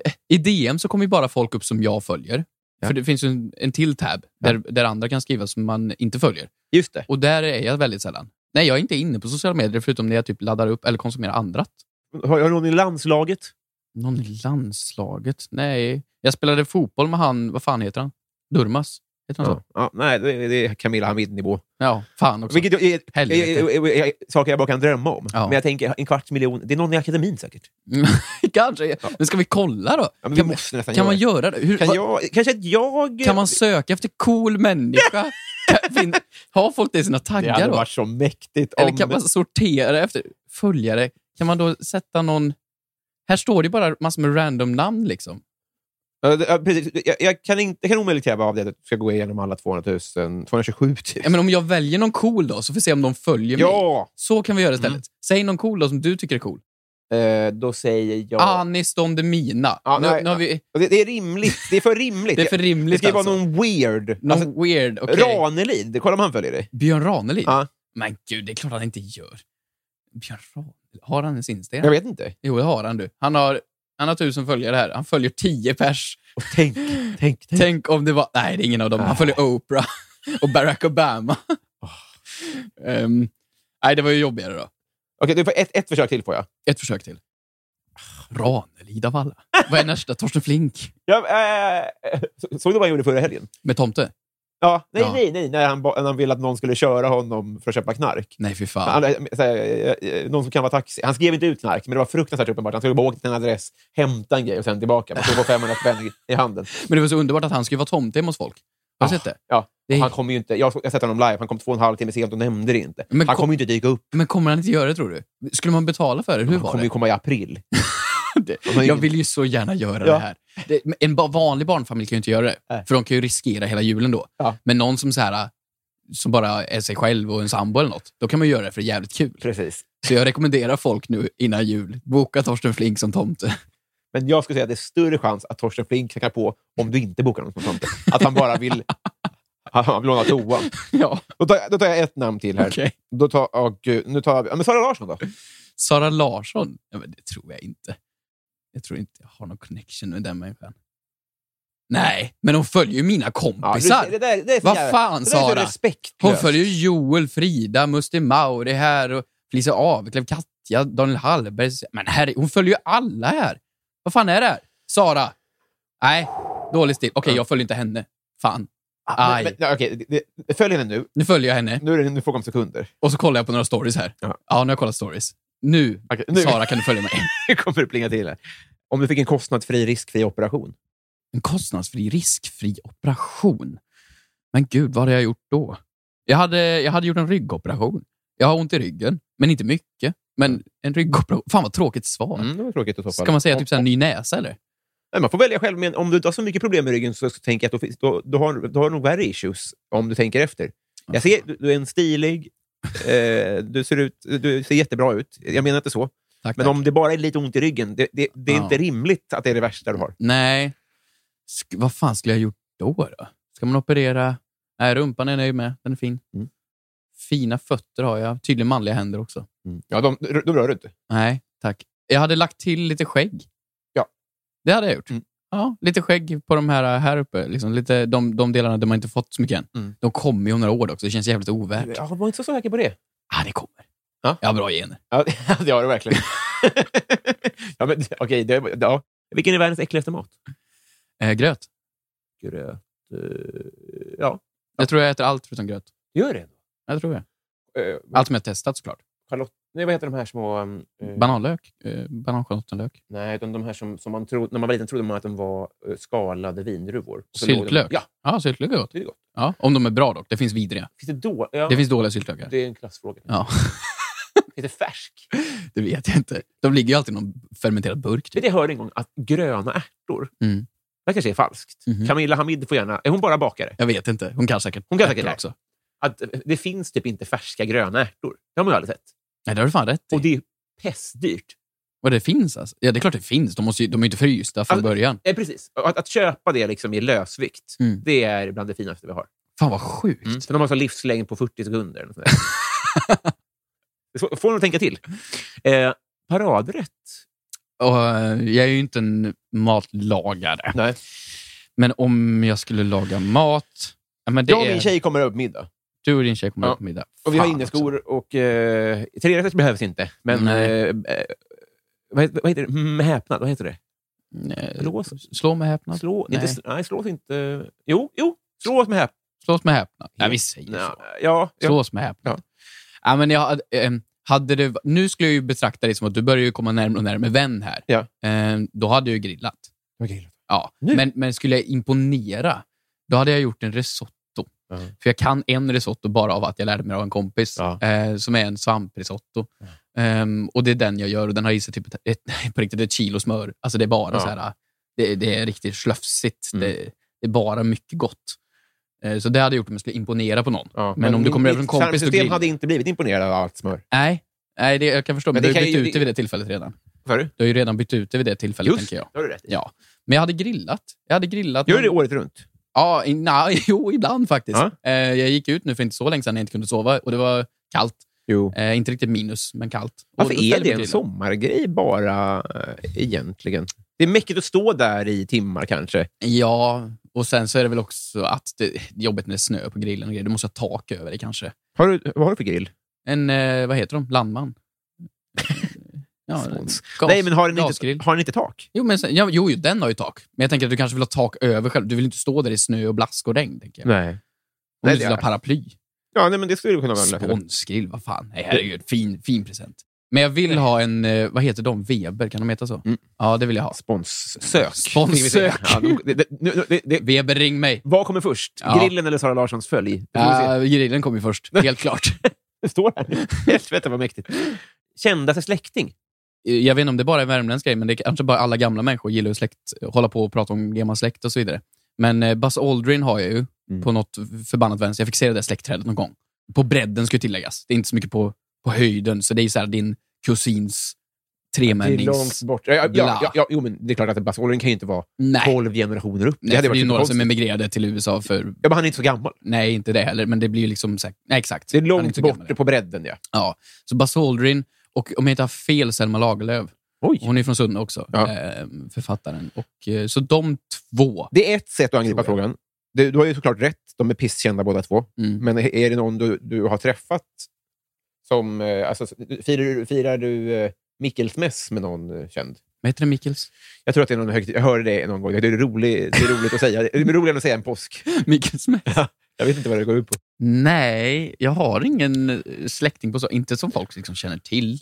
S2: Eh, i DM så kommer ju bara folk upp som jag följer.
S1: Ja.
S2: För det finns ju en, en till tab där, där andra kan skriva som man inte följer.
S1: Just det.
S2: Och där är jag väldigt sällan. Nej, jag är inte inne på sociala medier förutom när jag typ laddar upp eller konsumerar andrat.
S1: Har har någon i landslaget?
S2: Någon i landslaget? Nej. Jag spelade fotboll med han, vad fan heter han? Durmas Heter han
S1: Ja.
S2: så?
S1: Ja, nej, det det är Camilla Hamid-nivå.
S2: Ja, fan också.
S1: Vilket är, är,
S2: Alltså, Helvete.
S1: är, är, är saker jag bara kan drömma om.
S2: Ja.
S1: Men jag tänker en kvarts miljon, det är någon i akademin säkert.
S2: Kanske. Men ska vi kolla då?
S1: Ja, men vi
S2: kan
S1: måste nästan
S2: kan man
S1: göra
S2: göra det? Hur,
S1: Kan
S2: va-
S1: jag, kanske att jag...
S2: kan man söka efter cool människa? Kan- fin- Har folk det i sina
S1: det
S2: taggar
S1: hade
S2: då?
S1: varit så mäktigt om...
S2: Eller kan man sortera efter följare? Kan man då sätta någon... Här står det ju bara massor med random namn liksom.
S1: Ja, det- ja, precis. Jag, jag kan, inte, jag kan omöjligt kräva av dig att du ska gå igenom alla 200 000, 227 000.
S2: Ja, men om jag väljer någon cool då, så får vi se om de följer mig.
S1: Ja! Mm.
S2: Så kan vi göra istället. Säg någon cool då som du tycker är cool.
S1: Eh, då säger jag...
S2: Anis Dom Demina.
S1: Ja,
S2: Ah, nu,
S1: nej.
S2: nu har vi,
S1: Och Det, det är rimligt. Det är för rimligt.
S2: det är för
S1: det
S2: rimligt
S1: ska ju
S2: alltså.
S1: vara någon weird.
S2: Någon
S1: Alltså,
S2: weird. okej.
S1: Ranelid, kolla om han följer dig.
S2: Björn Ranelid?
S1: Ja.
S2: Men gud, det är klart han inte gör. Björn Ranelid? Har han ens
S1: Jag
S2: Instagram?
S1: vet inte.
S2: Jo, det har han du. Han har, han har tusen följare här. Han följer tio pers.
S1: Och tänk, tänk, tänk.
S2: Tänk om det var... Nej, det är ingen av dem. Han
S1: Nej.
S2: följer Oprah och Barack Obama. Ehm, nej, det var ju jobbigare då.
S1: Okej, du får ett, ett försök till får jag.
S2: Ett försök till.
S1: Ah.
S2: Ranelid av alla. Vad är nästa? Torsten Flink
S1: jag eh, så- såg du vad han gjorde förra helgen?
S2: med tomte?
S1: Ja, nej,
S2: Ja.
S1: nej, nej. När han, ba- när han ville att någon skulle köra honom för att köpa knark.
S2: Nej, fy
S1: Han,
S2: fan.
S1: eh, såhär, eh, eh, någon som kan vara taxi. Han skrev inte ut knark, men det var fruktansvärt uppenbart. Han skulle bara åka till en adress, hämta en grej och sen tillbaka. Man skulle få 500 spänn i- i handen.
S2: Men det var så underbart att han skulle vara tomte hemma hos folk. Har du
S1: Ah.
S2: sett det?
S1: Ja.
S2: Det är-
S1: Och Han kommer ju inte, jag har sett honom live. Han kom två och en halv timme sent och nämnde det inte.
S2: Men
S1: han
S2: kom-
S1: kommer ju inte dyka upp.
S2: Men kommer han inte göra det, tror du? Skulle man betala för det? Hur
S1: Han
S2: var
S1: kommer
S2: det?
S1: ju komma i april.
S2: det.
S1: har ju
S2: Jag
S1: ingen-
S2: vill ju så gärna göra
S1: Ja.
S2: det här. Det, men en ba- vanlig barnfamilj kan ju inte göra det,
S1: Nej.
S2: för de kan ju riskera hela julen då.
S1: Ja.
S2: Men någon som, så här, som bara är sig själv och en sambo eller något, då kan man ju göra det för det är jävligt kul.
S1: Precis.
S2: Så jag rekommenderar folk nu innan jul, boka Torsten Flink som tomte.
S1: Men jag skulle säga att det är större chans att Torsten Flink knackar på om du inte bokar någon som tomte. Att han bara vill, han- han vill låna toan.
S2: ja,
S1: Då tar, jag- då tar jag ett namn till här.
S2: okej.
S1: Då tar, åh, gud, nu tar jag... Ja, men Sara Larsson då?
S2: Sara Larsson? Ja, men det tror jag inte. Jag tror inte jag har någon connection med den människan. Nej, men hon följer ju mina
S1: Ja, du
S2: kompisar.
S1: ser, det där, det är så
S2: Vad
S1: jävla-
S2: fan,
S1: det där är så
S2: Sara? Hon
S1: respektlöst.
S2: följer ju Joel, Frida, Musti Mauri här och Felicia Aveklev, Katja, Daniel Hallberg. Men herre, hon följer ju alla här. Vad fan är det här? Sara? Nej, dålig stil. Okej, jag följer inte henne. Fan.
S1: Ah,
S2: Aj.
S1: Men, men, okej, det- det- följ henne nu.
S2: Nu följer jag henne
S1: Nu är det en fråga om sekunder.
S2: och så kollar jag på några stories här. Ja,
S1: Ja.
S2: nu har jag kollat stories. Nu,
S1: Okej, nu
S2: Sara, kan du följa mig?
S1: kommer det plinga till. Här. Om du fick en kostnadsfri, riskfri operation.
S2: En kostnadsfri, riskfri operation. Men gud, vad hade jag gjort då? Jag hade, jag hade gjort en ryggoperation. Jag har ont i ryggen, men inte mycket. Men en ryggoperation. Fan vad tråkigt svar.
S1: Mm, det var tråkigt att toppa.
S2: Ska man säga
S1: Om-
S2: typ så här, ny näsa eller?
S1: Nej, man får välja själv, men om du inte har så mycket problem med ryggen så, så tänker jag att då, finns- då, då, har, då har du nog värre issues om du tänker efter. Jag ser, du, du är en stilig, eh, du, ser ut, du ser jättebra ut. Jag menar inte så.
S2: Tack,
S1: Men
S2: tack.
S1: om det bara är lite ont i ryggen, det, det, det är
S2: Ja.
S1: inte rimligt att det är det värsta du har.
S2: Nej. Sk- vad fan skulle jag gjort då? då? Ska man operera? Nej, rumpan är jag nöjd med. Den är fin.
S1: Mm.
S2: Fina fötter har jag. Tydligen manliga händer också.
S1: Ja, de, de rör du inte.
S2: Nej, tack. Jag hade lagt till lite skägg.
S1: Ja.
S2: Det hade jag gjort.
S1: Mm.
S2: Ja, lite skägg på de här, här uppe. Liksom lite, de, de delarna där man inte fått så mycket än.
S1: Mm.
S2: De kommer ju om några år också. Det känns jävligt ovärt.
S1: Jag var inte så säker på det.
S2: Ah, det kommer.
S1: Ja.
S2: Jag har bra gener.
S1: Ja, det har du verkligen. ja, men, okej, det, ja. Vilken är världens äckligaste mat?
S2: Eh, gröt.
S1: Gröt. eh, Ja,
S2: Jag tror jag äter allt förutom gröt.
S1: gör det.
S2: Jag tror jag.
S1: Eh,
S2: Allt som jag testat såklart.
S1: Charlotte, nej, vad heter de här små... eh,
S2: Bananlök. Eh, Bananschalottenlök.
S1: Nej, utan de här som, som man trodde, när man var liten trodde man att de var eh, skalade vindruvor. Och så låg de-
S2: Syltlök.
S1: Ja,
S2: Ja, syltlök är gott.
S1: det är gott.
S2: Ja, om de är bra dock. Det finns vidriga.
S1: Finns det då? Ja,
S2: Det finns dåliga syltlökar.
S1: det är en klassfråga.
S2: Ja,
S1: Finns det färsk?
S2: det vet jag inte. De ligger ju alltid i någon fermenterad burk.
S1: Vet
S2: Typ.
S1: du, jag hörde en gång att gröna ärtor,
S2: Mm.
S1: det kanske är falskt.
S2: Mhm.
S1: Camilla Hamid får gärna... Är hon bara bakare?
S2: Jag vet inte. Hon kan säkert
S1: Hon kan säkert
S2: äta
S1: det.
S2: också.
S1: Att eh, det finns typ inte färska gröna ärtor. Det har man ju aldrig sett.
S2: Nej, det har du fan rätt i.
S1: Och det är pestdyrt.
S2: Och det finns alltså? Ja, det är klart det finns. De, måste ju, de är ju inte frysta från
S1: Alltså-
S2: början.
S1: Eh, precis. Och Att, att köpa det liksom i lösvikt,
S2: Mm.
S1: det är bland det finaste vi har.
S2: Fan vad sjukt.
S1: För de har så livslängd på 40 sekunder. eller sånt där. Det får- får de tänka till. Eh, paradrätt.
S2: Och, eh, jag är ju inte en matlagare.
S1: Nej.
S2: Men om jag skulle laga mat... Ja, men det
S1: Jag och
S2: är,
S1: min tjej kommer över på middag.
S2: Du och din tjej kommer
S1: Ja.
S2: upp på middag.
S1: Och vi har
S2: Fan också.
S1: inneskor och eh, trerätters behövs inte. Men
S2: Nej.
S1: eh, eh, vad, heter, vad heter det? Mm, häpnad, vad heter det?
S2: Nej,
S1: Lås.
S2: alltså. Eh, Slå med häpnad.
S1: Slå,
S2: Nej.
S1: Inte, nej, slås inte. Jo, jo, slås med häpnad.
S2: Slås med häpnad. Ja, vi säger
S1: Nja,
S2: så.
S1: Ja, ja.
S2: Slås med häpnad. Ja. men jag, ehm, hade det, nu skulle jag ju betrakta dig som att du börjar ju komma närmare och närmare vän här.
S1: Ja.
S2: Ehm, då hade jag ju grillat.
S1: Okej.
S2: Ja.
S1: Nu?
S2: Men, men skulle jag imponera, då hade jag gjort en risotto.
S1: Ja.
S2: För jag kan en risotto bara av att jag lärde mig av en kompis,
S1: Ja.
S2: eh, som är en svamprisotto. Ehm, och det är den jag gör och den har i sig typ ett, ett, nej, på riktigt ett kilo smör. Alltså det är bara
S1: Ja.
S2: så här, det, det är riktigt slöfsigt.
S1: Mm.
S2: Det, det är bara mycket gott. Eh, så det hade jag gjort om jag skulle imponera på någon.
S1: Ja,
S2: Men om du
S1: min-
S2: kommer över en
S1: mitt
S2: kompis och
S1: tarmsystem
S2: grillar.
S1: hade inte blivit imponerad av allt smör.
S2: Nej, nej det, jag kan förstå.
S1: Men det
S2: Men, du har
S1: kan
S2: ju
S1: ju-
S2: bytt ut det vid det tillfället redan.
S1: Vad du?
S2: Du har ju redan bytt ut det vid det tillfället,
S1: Just
S2: tänker jag.
S1: det har du rätt i.
S2: Ja. Men jag hade grillat. Jag hade grillat.
S1: Gör du
S2: någon-
S1: det året runt?
S2: Ja, i- na, jo, ibland faktiskt.
S1: Ja.
S2: Eh, jag gick ut nu för inte så länge sedan när jag inte kunde sova och det var kallt.
S1: Jo.
S2: Eh, inte riktigt minus, men kallt.
S1: Varför
S2: och då
S1: är
S2: ställde
S1: det
S2: jag
S1: en
S2: grillen.
S1: sommargrej bara eh, egentligen? Det är mäckigt att stå där i timmar kanske.
S2: Ja, och sen så är det väl också att det det är jobbigt när det är snö på grillen och grejer. Du måste ha tak över det kanske.
S1: Har du, vad har du för grill?
S2: En, eh, vad heter de? Landman? ja,
S1: Spons.
S2: gas,
S1: Nej, men har den,
S2: gasgrill.
S1: inte, har den inte tak?
S2: Jo, men sen, ja, jo, jo, den har ju tak. Men jag tänker att du kanske vill ha tak över själv. Du vill inte stå där i snö och blask och regn. Tänker jag. Om
S1: Nej.
S2: du
S1: Nej,
S2: vill
S1: det-
S2: ha paraply.
S1: Ja, nej, men det skulle du kunna vara en lösning.
S2: Sponsgrill, vad fan. Nej, herregud. Fin, fin present. Men jag vill ha en, eh, vad heter de? Weber, kan de heta så?
S1: Mm.
S2: Ja, det vill jag ha.
S1: Sponssök.
S2: Sponssök.
S1: Ska vi se. Ja, de- det- det- nu- det- det-
S2: Weber, ring mig.
S1: Vad kommer först?
S2: Ja.
S1: Grillen eller Sara Larssons följ? Det får vi se.
S2: Uh, grillen kommer ju först, helt klart.
S1: Det står här. Helvete vad mäktigt. Kändaste släkting?
S2: Eh, Jag vet inte om det bara är en värmländsk grej, men det är kanske bara alla gamla människor gillar ju släkt, hålla på och prata om gammal släkt och så vidare. Men eh, Buzz Aldrin har jag ju
S1: Mm.
S2: på något förbannat vänster. Jag fick se det där släktträdet någon gång. På bredden ska ju tilläggas. Det är inte så mycket på, på höjden, så det är ju så här din kusins tremännings...
S1: bort. Ja, ja,
S2: Bla.
S1: ja, ja, jo, men det är klart att Buzz Aldrin kan ju inte vara
S2: Nej,
S1: tolv generationer upp.
S2: Nej, det, för det är ju några
S1: jättekonstigt.
S2: som emigrerade till USA för...
S1: Ja, men han är inte så gammal.
S2: Nej, inte det heller, men det blir ju liksom... Så här, nej, exakt.
S1: Det är
S2: Han
S1: långt
S2: så
S1: bort
S2: gammal.
S1: på bredden. Ja.
S2: Ja. Så Buzz Aldrin och, om jag inte har fel, Selma Lagerlöf.
S1: Oj.
S2: Hon är från Sunne också,
S1: Ja.
S2: eh, författaren. Och, eh, så de två.
S1: Det är ett sätt att angripa
S2: Tror
S1: frågan. Du, du har ju såklart rätt. De är pisskända båda två.
S2: Mm.
S1: Men är det någon du, du har träffat? som eh, alltså, Firar du, firar du eh, Mikkelsmäss med någon eh, känd?
S2: Vad heter det, Mikkels?
S1: Jag tror att det är någon högtid. Jag hörde det någon gång. Det är, rolig, det är roligt att säga. Det är roligare än att säga en påsk.
S2: Mikkels
S1: Jag vet inte vad det går ut på.
S2: Nej, jag har ingen eh, släkting på så. Inte som folk liksom känner till.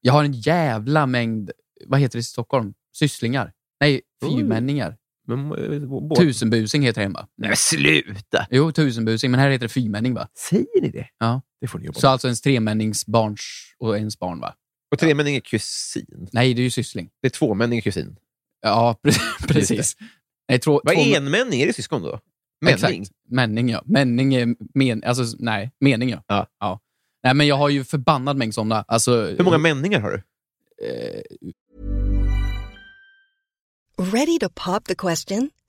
S2: Jag har en jävla mängd, vad heter det i Stockholm? Sysslingar? Nej, fyrmänningar.
S1: Men, eh, båda.
S2: Tusenbusing heter det hemma.
S1: Nej, men sluta!
S2: Jo, tusenbusing, men här heter det fyrmänning va?
S1: Säger ni det?
S2: Ja.
S1: Det får ni jobba
S2: Så
S1: med.
S2: alltså ens tremämningsbarns och ens barn, va?
S1: Och tremänning är kusin.
S2: Nej, det är ju syssling.
S1: Det är tvåmänning är kusin.
S2: Ja, pre- precis. Nej, två,
S1: Vad
S2: två-
S1: är enmänning? Är det syskon då?
S2: Exakt.
S1: Männing?
S2: Männing, ja. Männing är men, alltså, nej, mening, ja.
S1: Ja.
S2: Nej, men jag har ju förbannad mängd sådana. Alltså,
S1: Hur många männingar har du?
S2: eh,
S3: Ready to pop the question?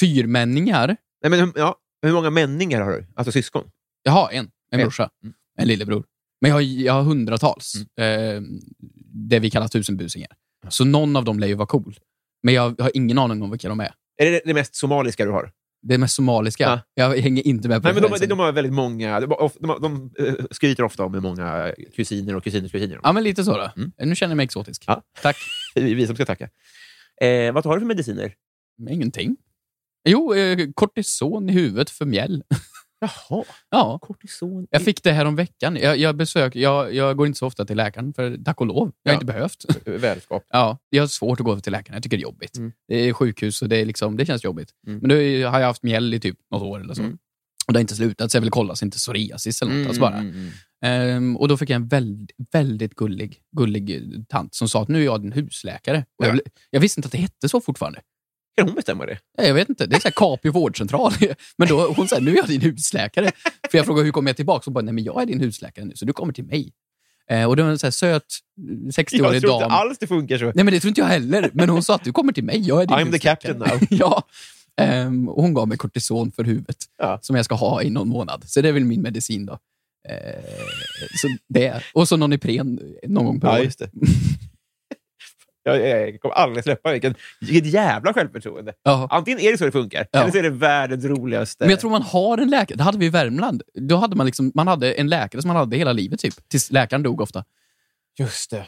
S2: fyrmänningar.
S1: Nej, men, hur- ja, hur många männingar har du? Alltså syskon?
S2: Jag har en,
S1: En.
S2: en brorsa,
S1: Mm.
S2: en lillebror. Men jag har, jag har hundratals, eh, det vi kallar tusenbusingar. Så någon av dem lär ju vara cool. Men jag har ingen aning om vilka de är.
S1: Är det det mest somaliska du har? Alltså-
S2: Det är mest somaliska.
S1: Ja.
S2: Jag hänger inte med på
S1: Nej, men de,
S2: referensen.
S1: de har väldigt många... De, har- de, har- de eh, skryter ofta om hur många kusiner och kusiners kusiner
S2: Ja, men lite så då.
S1: Mm.
S2: Nu känner jag mig exotisk.
S1: Ja.
S2: Tack.
S1: Vi vi som ska tacka. Eh, vad har du för mediciner?
S2: Men ingenting. Jo, eh, kortison i huvudet för mjäll.
S1: Jaha,
S2: Ja.
S1: kortison.
S2: Jag fick det här om veckan. Jag, jag, besök, jag, jag går inte så ofta till läkaren, för tack och lov. Jag
S1: Ja.
S2: har inte behövt.
S1: Välskap.
S2: Ja, jag har svårt att gå till läkaren. Jag tycker det är jobbigt.
S1: Mm.
S2: Det är sjukhus och det, är liksom, det känns jobbigt.
S1: Mm.
S2: Men nu har jag haft mjäll i typ något år eller så.
S1: Mm.
S2: Och det har inte slutat, så jag ville kolla så inte psoriasis eller något. alltså bara.
S1: mm,
S2: Ehm, och då fick jag en väldigt, väldigt gullig, gullig tant som sa att nu är jag din husläkare. Och jag,
S1: Ja.
S2: bli- jag visste inte att det hette så fortfarande.
S1: Kan hon bestämma det?
S2: Ja, Jag vet inte, det är så här Capio vårdcentral. Men då, hon sa, nu är jag din husläkare. För jag frågade, hur kommer jag tillbaka? Hon bara, nej men jag är din husläkare nu, så du kommer till mig. Eh, och det var en så här söt
S1: Jag
S2: 60-årig
S1: tror inte
S2: dam.
S1: alls det funkar så.
S2: Nej men det tror inte jag heller. Men hon sa att du kommer till mig, jag är din
S1: I'm the
S2: husläkare.
S1: captain now.
S2: ja. Ehm, och hon gav mig kortison för huvudet,
S1: Ja.
S2: som jag ska ha i någon månad. Så det är väl min medicin då. Eh, så det. Och så någon Ipren någon gång per
S1: Ja,
S2: år.
S1: just det. Jag, jag kommer aldrig släppa vilken, vilket jävla självförtroende.
S2: Ja.
S1: Antingen är det så det funkar,
S2: Ja.
S1: eller så är det världens roligaste.
S2: Men jag tror man har en läkare. Det hade vi i Värmland. Då hade man, liksom, man hade en läkare som man hade hela livet, typ. tills läkaren dog ofta.
S1: Just det.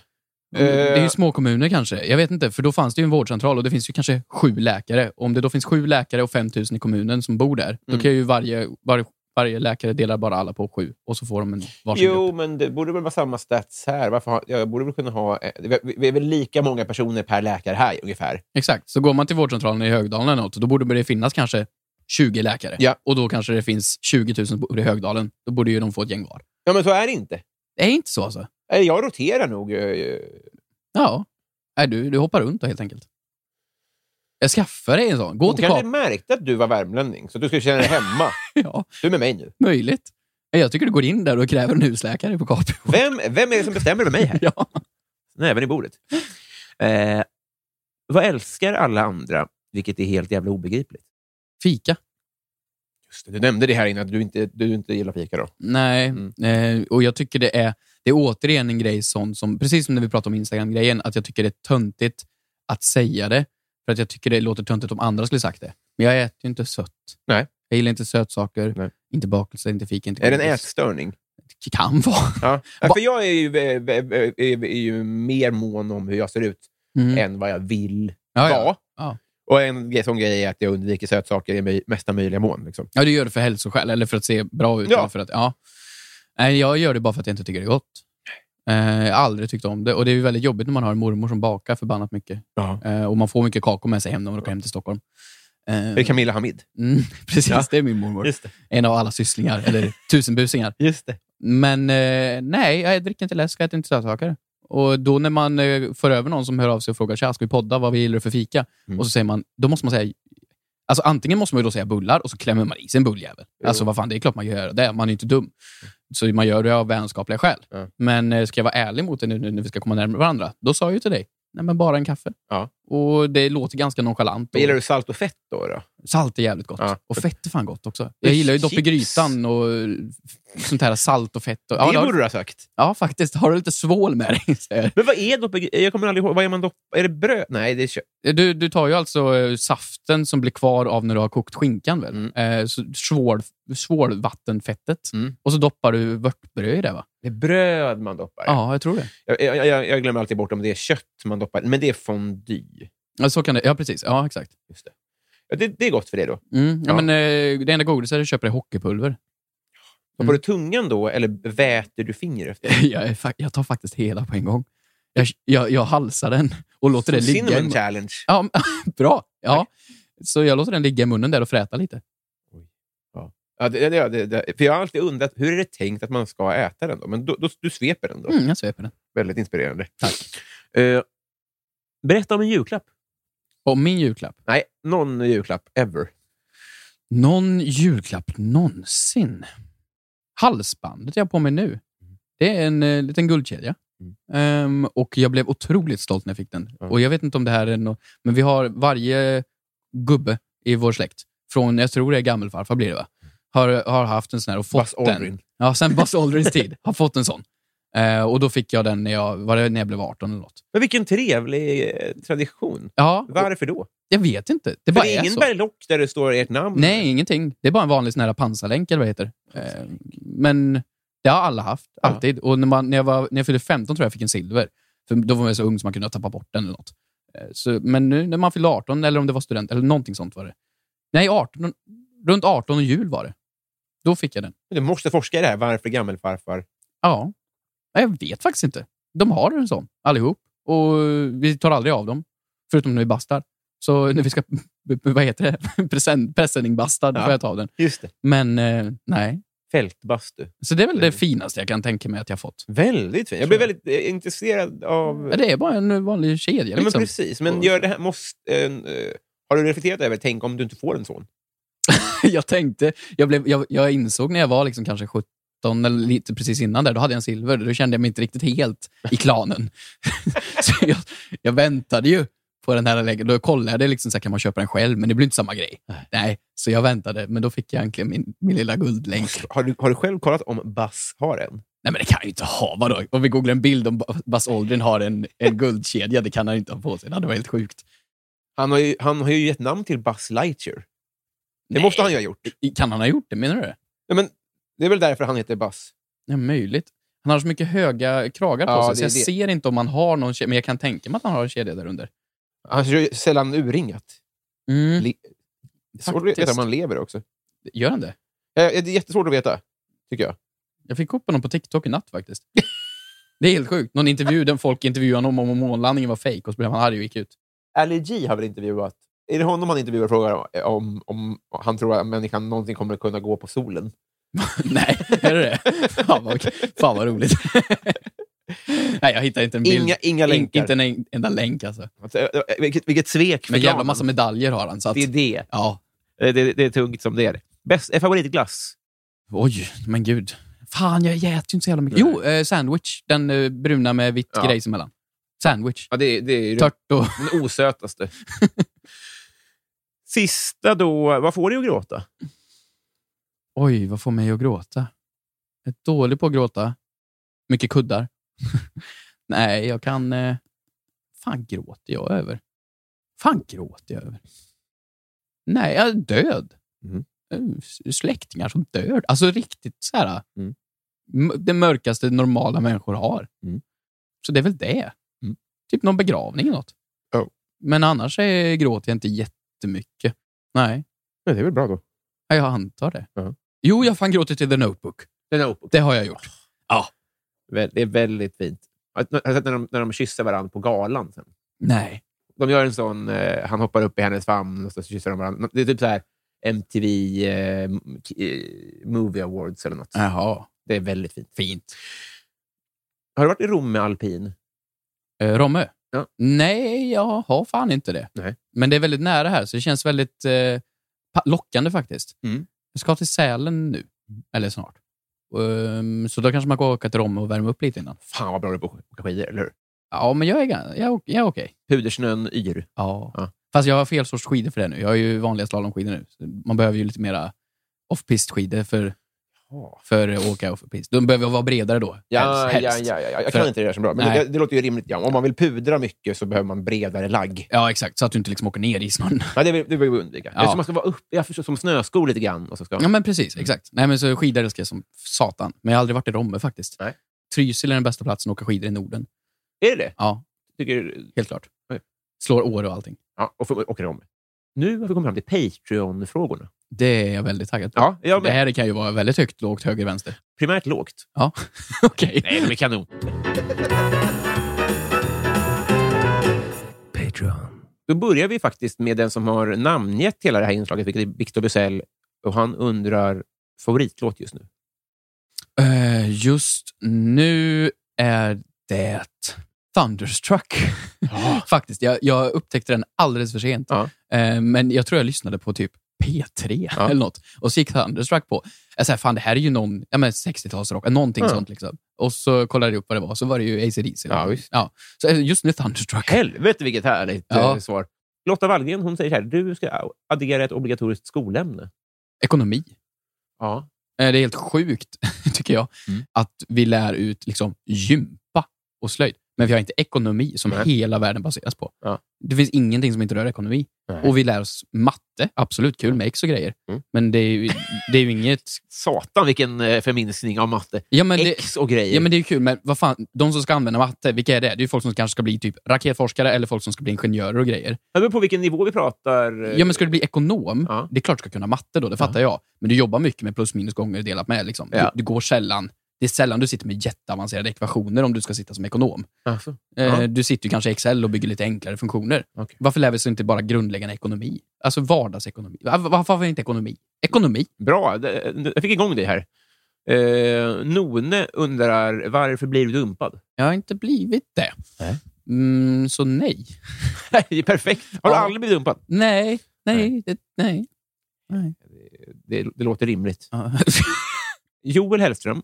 S2: Det
S1: Eh.
S2: är ju små kommuner kanske. Jag vet inte, för då fanns det ju en vårdcentral och det finns ju kanske sju läkare. Om det då finns sju läkare och 5 000 i kommunen som bor där, då
S1: Mm.
S2: kan ju varje, varje, varje läkare dela bara alla på sju och så får de en varsin grupp.
S1: Jo, men det borde väl vara samma stats här. Varför har, jag borde väl kunna ha... eh, Vi vi är väl lika många personer per läkare här, ungefär.
S2: Exakt. Så går man till vårdcentralen i Högdalen eller något, då borde det finnas kanske 20 läkare.
S1: Ja.
S2: Och då kanske det finns 20 000 som bor i Högdalen. Då borde ju de få ett gäng var.
S1: Ja, men så är det inte.
S2: Det är inte så alltså.
S1: Eh, Jag roterar nog. eh,
S2: Ja. Nej, du, du hoppar runt då helt enkelt. Jag skaffar dig en sån. Gå
S1: Hon
S2: till
S1: kanske
S2: Kap.
S1: märkte att du var värmlänning, så du skulle känna dig hemma.
S2: Ja,
S1: Du är med mig nu.
S2: möjligt. Nej, Jag tycker du går in där och kräver en husläkare på Capio.
S1: Vem, vem är det som bestämmer över mig här?
S2: Ja.
S1: Näven i bordet. Eh, vad älskar alla andra, vilket är helt jävla obegripligt?
S2: Fika.
S1: Just det, du nämnde det här innan, att du inte, du inte gillar fika. Då.
S2: Nej,
S1: Mm.
S2: eh, och jag tycker det är, det är återigen en grej sån som, precis som när vi pratade om Instagram-grejen, att jag tycker det är töntigt att säga det. För att jag tycker det låter töntigt om andra skulle sagt det. Men jag äter ju inte sött.
S1: Nej.
S2: Jag gillar inte sötsaker,
S1: Nej.
S2: inte bakelse, inte fika, inte
S1: Är det en
S2: godis.
S1: ätstörning?
S2: Det kan vara.
S1: Ja.
S2: Va-
S1: Ja, för jag är ju, eh, eh, eh, är, är ju mer mån om hur jag ser ut
S2: Mm.
S1: än vad jag vill
S2: Ja, ja.
S1: vara.
S2: Ja.
S1: Och en grej- sån grej är att jag undviker sötsaker i my- mesta möjliga mån. Liksom.
S2: Ja, du gör det för hälsoskäl eller för att se bra ut.
S1: Ja.
S2: Eller för att, ja. Nej, jag gör det bara för att jag inte tycker det är gott. Eh, jag har aldrig tyckt om det. Och Det är ju väldigt jobbigt när man har en mormor som bakar förbannat mycket.
S1: Ja.
S2: Eh, och Man får mycket kakor med sig hem när man åker hem till Stockholm. Eh,
S1: Det är Camilla Hamid.
S2: mm, precis,
S1: Ja.
S2: det är min mormor.
S1: det.
S2: En av alla sysslingar, eller tusenbusingar.
S1: Just det.
S2: Men eh, nej, jag dricker inte läsk, jag äter inte sötsaker. Och då när man eh, för över någon som hör av sig och frågar tja, ska vi podda, vad vi gillar du för fika?
S1: Mm.
S2: Och så säger man, då måste man säga, alltså antingen måste man ju då säga bullar och så klämmer man i sig en bulljävel.
S1: Jo.
S2: Alltså vad fan, det är klart man gör det, man är ju inte dum. Så man gör det av vänskapliga skäl.
S1: Ja.
S2: Men eh, ska jag vara ärlig mot dig nu, nu när vi ska komma närmare varandra, då sa jag ju till dig, nej men bara en kaffe.
S1: Ja.
S2: Och det låter ganska nonchalant.
S1: Men Gillar
S2: Och
S1: du salt och fett då? då?
S2: salt är jävligt gott.
S1: Ja.
S2: Och fett är fan gott också. Jag gillar ju dopp i
S1: Chips.
S2: grytan och sånt här salt och fett. Och, ja,
S1: det
S2: har-
S1: borde du ha sagt.
S2: Ja, faktiskt. Har du lite svål med dig? säger
S1: Men vad är dopp? Jag kommer aldrig ihåg. Vad är man dopp? Är det bröd? Nej, det är kött.
S2: jag. Du, du tar ju alltså eh, saften som blir kvar av när du har kokt skinkan. väl?
S1: Mm.
S2: Eh, så svål, svålvattenfettet.
S1: Mm.
S2: Och så doppar du vörtbröd i det, va?
S1: Det är bröd man doppar.
S2: Ja, jag tror det.
S1: Jag, jag, jag, jag glömmer alltid bort om det är kött man doppar. Men det är fondue.
S2: Ja, så kan det. ja precis. Ja, exakt.
S1: Just det. Ja, det, det är gott för det då.
S2: Mm. Ja,
S1: Ja.
S2: Men, eh, det enda godiset du köper är hockeypulver.
S1: Doppar
S2: Mm.
S1: du tungan då, eller väter du fingret?
S2: jag, är fa- jag tar faktiskt hela på en gång. Jag, jag, jag halsar den och låter det ligga. i
S1: Cinnamon
S2: mun-
S1: challenge.
S2: Ja, men- bra. Ja. Så jag låter den ligga i munnen där och fräta lite.
S1: Ja, det, det, det, det, för jag har alltid undrat, hur är det tänkt att man ska äta den då? Men då, då, du sveper den då.
S2: Mm, jag sveper den.
S1: Väldigt inspirerande.
S2: Tack.
S1: Eh, berätta om en julklapp.
S2: Och min julklapp.
S1: Nej, någon julklapp ever.
S2: Någon julklapp någonsin? Halsbandet jag har på mig nu, det är en eh, liten guldkedja. Ehm, och jag blev otroligt stolt när jag fick den.
S1: Mm. Ja.
S2: Och jag vet inte om det här är något, men vi har varje gubbe i vår släkt, från, jag tror det är gammelfarfar blir det va? Har, har haft en sån här och fått
S1: Buzz Aldrin.
S2: den. Ja, sen Buzz Aldrins tid. Har fått en sån. Eh, och då fick jag den när jag, var det när jag blev 18 eller något.
S1: Men vilken trevlig eh, tradition.
S2: Ja, och,
S1: Varför då?
S2: jag vet inte.
S1: För
S2: Det bara
S1: det
S2: är
S1: är ingen
S2: så.
S1: berlock där det står ert namn?
S2: Nej, ingenting. Det är bara en vanlig sån här pansarlänk eller vad det heter. Eh, men det har alla haft,
S1: Ja.
S2: alltid. Och när, man, när, jag var, när jag fyllde 15 tror jag jag fick en silver. För då var man så ung så man kunde ha tappat bort den eller något. Eh, så, men nu när man fyllde 18, eller om det var student, eller någonting sånt var det. Nej, 18, runt 18 och jul var det. Då fick jag den.
S1: Men Du måste forska i det här. Varför gammelfarfar?
S2: Ja. Nej, Jag vet faktiskt inte. De har en sån, allihop. Och vi tar aldrig av dem. Förutom när vi bastar. Så när vi ska, vad heter det, Present- presenningbasta, då
S1: Ja.
S2: får jag ta den.
S1: Just det.
S2: Men eh, nej.
S1: Fältbastu.
S2: Så det är väl det finaste jag kan tänka mig att jag fått.
S1: Väldigt fint. Jag blev väldigt eh, intresserad av...
S2: Ja, det är bara en vanlig kedja.
S1: Ja, men
S2: Liksom.
S1: precis. Men gör det här, måste, eh, eh, har du reflekterat över, tänk om du inte får en son?
S2: jag tänkte, jag, blev, jag, jag insåg när jag var liksom kanske 17 eller lite precis innan där, då hade jag en silver. Då kände jag mig inte riktigt helt i klanen. så jag, jag väntade ju på den här lägen. Då kollade jag, liksom, så här, kan man köpa den själv? Men det blir inte samma grej. Nej. så jag väntade, men då fick jag egentligen min, min lilla guldlänk.
S1: Har du, har du själv kollat om Bass har en?
S2: Nej, men det kan jag ju inte ha. Vadå? Om vi googlar en bild om Ba- Buzz Aldrin har en, en guldkedja, det kan han inte ha på sig. Det hade varit helt sjukt.
S1: Han har ju, han har ju gett namn till Buzz Lightyear. Det måste han ju ha gjort.
S2: Kan han ha gjort det, menar du? det?
S1: Nej, men det är väl därför han heter Buzz.
S2: Ja, möjligt. Han har så mycket höga kragar på
S1: Ja,
S2: sig,
S1: det
S2: så
S1: är
S2: jag
S1: det.
S2: ser inte om han har någon kedja. Men jag kan tänka mig att han har en kedja där under.
S1: Han kör ju sällan urringat.
S2: Mm.
S1: Le- Svårt att veta om
S2: Faktiskt.
S1: han lever också. Eh,
S2: Gör han det?
S1: Det är jättesvårt att veta, tycker jag.
S2: Jag fick upp honom på TikTok i natt faktiskt. Det är helt sjukt. Någon intervju där folk intervjuade honom om om månlandningen var fejk och så blev han arg och gick ut.
S1: Ali G har väl intervjuat... Är det honom han intervjuar och frågar om, om, om han tror att människan någonsin kommer att kunna gå på solen?
S2: Nej, är det det? Fan vad, fan vad roligt. Nej, jag hittar inte en bild.
S1: Inga, inga
S2: In-
S1: länkar.
S2: Inte en en- enda länk alltså.
S1: Alltså, Vilket, vilket svek för
S2: Men jävla
S1: klanen.
S2: massa medaljer har han. Så att,
S1: Det är det.
S2: ja.
S1: Eh, Det, det är tungt som det är. Bäst, eh, favoritglass?
S2: Oj, men gud. Fan, jag äter ju inte så jävla mycket.
S1: Nej.
S2: Jo, eh, sandwich. Den eh, bruna med vitt
S1: Ja.
S2: grejs emellan. Sandwich.
S1: Ja, det, det är ju
S2: Tört och...
S1: den osötaste. Sista då. Vad får dig att gråta?
S2: Oj, vad får mig att gråta? Jag är dålig på att gråta. Mycket kuddar. Nej, jag kan... Eh... Fan gråter jag över? Fan gråter jag över? Nej, jag är död.
S1: Mhm.
S2: Eh, s- Släktingar som dör. Alltså riktigt så här...
S1: Mm.
S2: m- Det mörkaste normala människor har.
S1: Mm.
S2: Så det är väl det.
S1: Mm. Oh.
S2: Typ någon begravning eller något.
S1: Ja.
S2: Men annars eh, gråter jag inte jättemycket. Nej,
S1: Ja, det är väl bra då.
S2: Ja, jag antar det.
S1: Ja.
S2: Jo, jag har fan gråtit till The Notebook.
S1: Den är open.
S2: Det har jag gjort.
S1: Vä- Det är väldigt fint. Att- Har du sett när de, när de kysser varandra på galan? Sen.
S2: Nej.
S1: De gör en sån... Eh, han hoppar upp i hennes famn och så kysser de varandra. Det är typ så här MTV eh, m- k- eh, Movie Awards eller något.
S2: Jaha.
S1: Det är väldigt fint.
S2: Fint.
S1: Har du varit i Rom med alpin?
S2: Eh, Romme?
S1: Ja.
S2: Nej, jag har fan inte det.
S1: Nej.
S2: Men det är väldigt nära här, så det känns väldigt eh, pa- lockande faktiskt.
S1: Mm.
S2: Jag ska till Sälen nu, eller snart. Ehm, så då kanske man kan åka till Romme och värma upp lite innan.
S1: Fan vad bra du är på att åka skidor, eller hur?
S2: Ja, men jag är, gan- jag, är ok- jag är okej.
S1: Pudersnön yr.
S2: Ja.
S1: Ja.
S2: Fast jag har fel sorts skidor för det nu. Jag har ju vanliga slalomskidor nu. Så Man behöver ju lite mera off-pist-skidor för, för att åka off-pist. De behöver vara bredare då.
S1: Ja,
S2: helst, helst.
S1: ja, ja, ja, ja. Jag
S2: För-
S1: kan inte det där så bra. Men
S2: Nej.
S1: det, det låter ju rimligt. Ja. Om man vill pudra mycket så behöver man bredare lagg.
S2: Ja, exakt. Så att du inte liksom åker ner i snön.
S1: Ja, det vill det vill vi undvika.
S2: Ja.
S1: Det är som man ska vara upp, jag förstår, som snöskor lite grann. Och så ska,
S2: Ja, men precis.
S1: Mm.
S2: Exakt. Nej, men så skidor älskar jag som satan. Men jag har aldrig varit i Romme faktiskt.
S1: Nej.
S2: Trysil är den bästa platsen att åka skidor i Norden.
S1: Är det det
S2: Ja,
S1: Tycker du?
S2: helt klart.
S1: Oj.
S2: Slår Åre och allting.
S1: Ja, och får- åker om. Nu har vi kommit fram till Patreon-frågorna.
S2: Det är jag väldigt taggad på.
S1: Ja, jag
S2: det
S1: med.
S2: här kan ju vara väldigt högt, lågt, höger, vänster.
S1: Primärt lågt.
S2: Ja, okej.
S1: Nej, de är kanon.
S4: Patreon.
S1: Då börjar vi faktiskt med den som har namngett hela det här inslaget, vilket är Victor Busell. Och han undrar favoritlåt just nu.
S2: Eh, just nu är det Thunderstruck. Faktiskt. Jag, jag upptäckte den alldeles för sent.
S1: Ja.
S2: Eh, men jag tror jag lyssnade på typ P3
S1: Ja.
S2: eller något och så gick Thunderstruck på. Jag sa, fan det här är ju någon ja, men 60-talsrock, någonting
S1: Ja.
S2: sånt. liksom. Och så kollade jag upp vad det var, så var det ju AC/DC.
S1: Ja, visst.
S2: Ja. Så eh, just nu Thunderstruck.
S1: Helvete vilket härligt
S2: Ja.
S1: eh, svar. Lotta Wallgren hon säger så här, du ska addera ett obligatoriskt skolämne.
S2: Ekonomi.
S1: Ja.
S2: Eh, Det är helt sjukt, tycker jag,
S1: Mm.
S2: att vi lär ut liksom gympa och slöjd. Men vi har inte ekonomi som
S1: Nej.
S2: hela världen baseras på.
S1: Ja.
S2: Det finns ingenting som inte rör ekonomi. Och vi lär oss matte, absolut kul med x och grejer.
S1: Mm.
S2: Men det är, ju, det är ju inget...
S1: Satan vilken eh, förminskning av matte.
S2: Ja, men det,
S1: X och grejer.
S2: ja, men det är ju kul, men vad fan, de som ska använda matte, vilka är det? Det är ju folk som kanske ska bli typ raketforskare eller folk som ska bli ingenjörer och grejer.
S1: Det beror på vilken nivå vi pratar. eh,
S2: Ja, men ska du bli ekonom,
S1: Ja.
S2: det är klart du ska kunna matte då, det fattar jag. Men du jobbar mycket med plus minus gånger delat med. Liksom.
S1: Ja.
S2: Du, du går sällan Det är sällan du sitter med jätteavancerade ekvationer om du ska sitta som ekonom.
S1: Alltså.
S2: Eh,
S1: Ja.
S2: Du sitter ju kanske i Excel och bygger lite enklare funktioner.
S1: Okej.
S2: Varför lär vi oss inte bara grundläggande ekonomi? Alltså vardagsekonomi. Va- va- Varför har vi inte ekonomi? Ekonomi?
S1: Bra, det- det- jag fick igång dig här. Eh, None undrar varför blir du dumpad?
S2: Jag har inte blivit det.
S1: Nej.
S2: Mm, så nej.
S1: det är perfekt. Har du
S2: Ja.
S1: aldrig blivit dumpad?
S2: Nej, nej, det, nej.
S1: Det, det låter rimligt.
S2: Ja.
S1: Joel Hellström,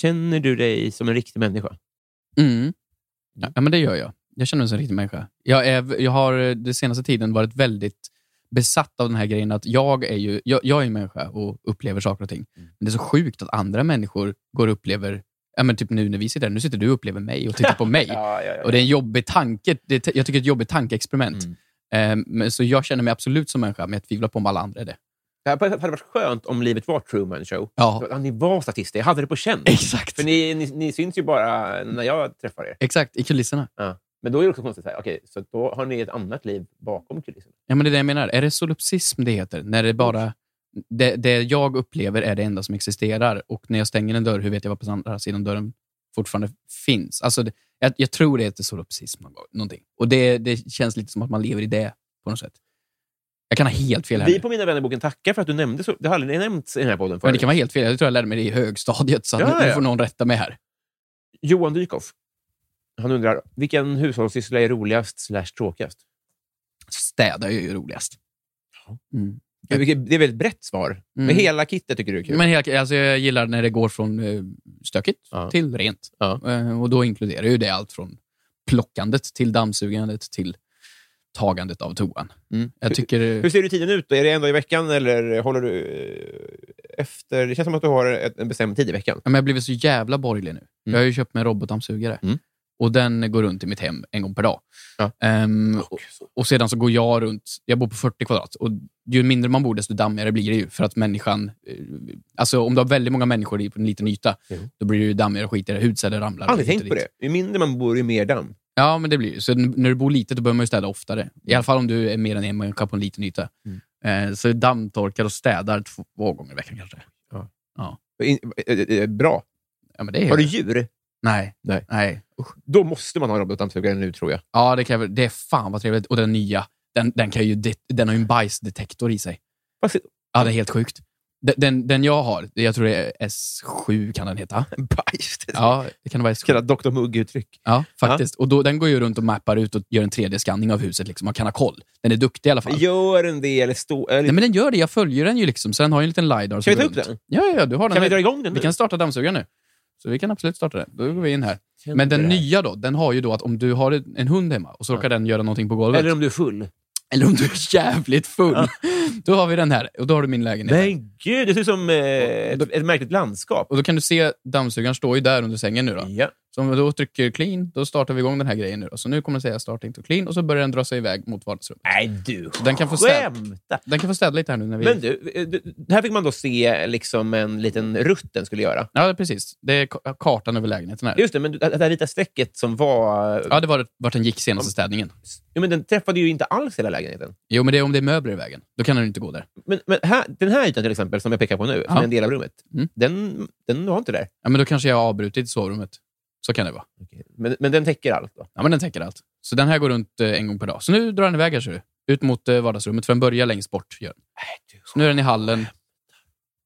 S1: känner du dig som en riktig människa?
S2: Mm. Ja, men det gör jag. Jag känner mig som en riktig människa. Jag, är, jag har eh, den senaste tiden varit väldigt besatt av den här grejen att jag är ju jag, jag är en människa och upplever saker och ting. Men det är så sjukt att andra människor går och upplever, ja, men typ nu när vi sitter här, nu sitter du och upplever mig och tittar på mig. Och det är en jobbig tanke. Det, är te- jag tycker det är ett jobbigt tankeexperiment. Eh, men, så jag känner mig absolut som människa, men jag tvivlar på om alla andra är det.
S1: Det här hade varit skönt om livet var Truman Show.
S2: Ja.
S1: Att Ni var statister. Jag hade det på känn.
S2: Exakt.
S1: För ni, ni, ni syns ju bara när jag träffar er.
S2: Exakt, i kulisserna.
S1: Ja. Men då är det också konstigt. Så här, okej, så då har ni ett annat liv bakom kulisserna.
S2: Ja, men det är det jag menar. Är det solipsism det heter? När det bara... Det, det jag upplever är det enda som existerar och när jag stänger en dörr, hur vet jag vad på andra sidan dörren fortfarande finns? Alltså, det, jag, jag tror det heter solipsism någon gång- någonting. Och det, det känns lite som att man lever i det på något sätt. Jag kan ha helt fel här
S1: Vi
S2: nu.
S1: på Mina vännerboken tackar för att du nämnde så. Det har aldrig nämnts i den här podden
S2: Men
S1: förut.
S2: det kan vara helt fel. Jag tror jag lärde mig det i högstadiet, så att
S1: Ja,
S2: nu, nu
S1: ja.
S2: får någon rätta mig här.
S1: Johan Dykhoff. Han undrar, vilken hushållssyssla är roligast slash tråkigast?
S2: Städa är ju roligast. Mm.
S1: Det är ett väldigt brett svar. Men hela kittet tycker du är kul.
S2: Men helt, alltså jag gillar när det går från eh, stökigt
S1: Ja.
S2: till rent.
S1: Ja.
S2: Eh, och Då inkluderar ju det allt från plockandet till dammsugandet till tagandet av toan.
S1: Mm.
S2: Jag tycker...
S1: Hur ser du tiden ut? Då? Är det en dag i veckan eller håller du eh, efter? Det känns som att du har ett, en bestämd tid i veckan.
S2: Ja, men jag har blivit så jävla borgerlig nu. Jag har ju köpt mig en robotdammsugare.
S1: Mm.
S2: Och den går runt i mitt hem en gång per dag.
S1: Ja.
S2: Ehm, och, och sedan så går jag runt, jag bor på 40 kvadrat. Och ju mindre man bor, desto dammigare blir det ju. För att människan, eh, alltså om du har väldigt många människor i- på en lliten yta, då blir det ju dammigare och skitigare. Hudceller ramlar.
S1: Jag har Mm. aldrig
S2: hit och
S1: tänkt på
S2: dit.
S1: det. Ju mindre man bor, ju mer damm.
S2: Ja, men det blir ju. Så n- när du bor litet, då behöver man ju städa oftare. I alla fall om du är mer än en människa på en liten yta.
S1: Mm.
S2: Eh, så dammtorkar och städar två gånger i veckan kanske.
S1: In, eh, eh, bra.
S2: Ja, men det är
S1: Har du djur?
S2: Nej.
S1: Nej.
S2: Nej.
S1: Då måste man ha robotdammsugare nu, tror jag.
S2: Ja, det, kan, jag väl- det är fan vad trevligt. Och den nya, den, den, kan ju, det- den har ju en bajsdetektor i sig.
S1: Vad se-
S2: Ja, det är helt sjukt. Den, den, den jag har, jag tror det är S7 kan den heta.
S1: Bajs! Ja.
S2: Ja, det kan vara S7.
S1: Kallat Dr Mugg-uttryck.
S2: Ja, faktiskt. Och då, den går ju runt och mappar ut och gör en 3D-skanning av huset. Liksom. Man kan ha koll. Den är duktig i alla fall.
S1: Gör en del... Stå, eller,
S2: Nej, men den gör det. Jag följer den ju. liksom. Så den har ju en liten LiDAR. som
S1: vi ta
S2: går
S1: upp
S2: runt.
S1: den?
S2: Ja, ja, du har den.
S1: kan vi
S2: här.
S1: dra igång den
S2: vi
S1: nu?
S2: kan starta dammsugaren nu. Så vi kan absolut starta den. Då går vi in här. Men den nya då, den har ju då att om du har en hund hemma och så råkar den göra någonting på golvet.
S1: Eller om du är full.
S2: Eller om du är jävligt full. Då har vi den här och då har du min lägenhet. här.
S1: Men gud, det ser ut som eh, ett, ett märkligt landskap.
S2: Och Då kan du se dammsugaren står ju där under sängen nu. Då.
S1: Ja.
S2: Så om vi då trycker clean, då startar vi igång den här grejen nu. Då. Så nu kommer den säga starting to clean och så börjar den dra sig iväg mot vardagsrummet.
S1: Nej, du
S2: Den kan få städ.
S1: skämta!
S2: Den kan få städa lite här nu när vi...
S1: Men du, eh, du, här fick man då se liksom en liten rutt den skulle göra.
S2: Ja, precis. Det är ka- kartan över lägenheten här.
S1: Just det, men det det här vita strecket som var...
S2: Ja, det var vart den gick senaste städningen.
S1: Jo, men den träffade ju inte alls hela lägenheten.
S2: Jo, men det är om det är möbler i vägen. Då kan den inte gå där.
S1: Men, men här, den här ytan till exempel, som jag pekar på nu, som
S2: Ja.
S1: är en del av rummet,
S2: Mm.
S1: den, den har inte där.
S2: Ja, men då kanske jag har avbrutit sovrummet. Så kan det vara.
S1: Men, men den täcker allt. Då.
S2: Ja, men den täcker allt. Så den här går runt eh, en gång per dag. Så nu drar den iväg här, ser du. Ut mot eh, vardagsrummet, för den börjar längst bort. Gör den. Så nu är den i hallen.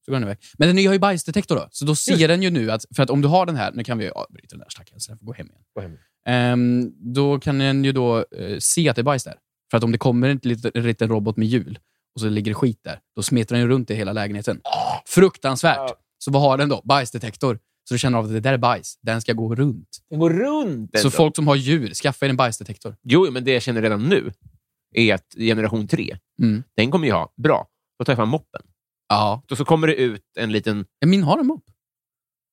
S2: Så går den iväg. Men den nya har ju bajsdetektor då, så då ser den ju nu att... För att om du har den här... Nu kan vi ju avbryta den där stackaren, så den får gå hem igen.
S1: Gå hem.
S2: Ehm, då kan den ju då eh, se att det är bajs där. För att om det kommer en liten, en liten robot med hjul och så ligger det skit där, då smetar den ju runt i hela lägenheten. Fruktansvärt! Så vad har den då? Bajsdetektor. Så du känner av att det där är bajs. Den ska gå runt.
S1: Den går runt.
S2: så
S1: ändå.
S2: folk som har djur, skaffa er en bajsdetektor.
S1: Jo, men det jag känner redan nu är att generation tre,
S2: Mm.
S1: den kommer jag ha. Bra. Då tar jag fram moppen.
S2: Ja.
S1: Då så kommer det ut en liten...
S2: Min har en mopp.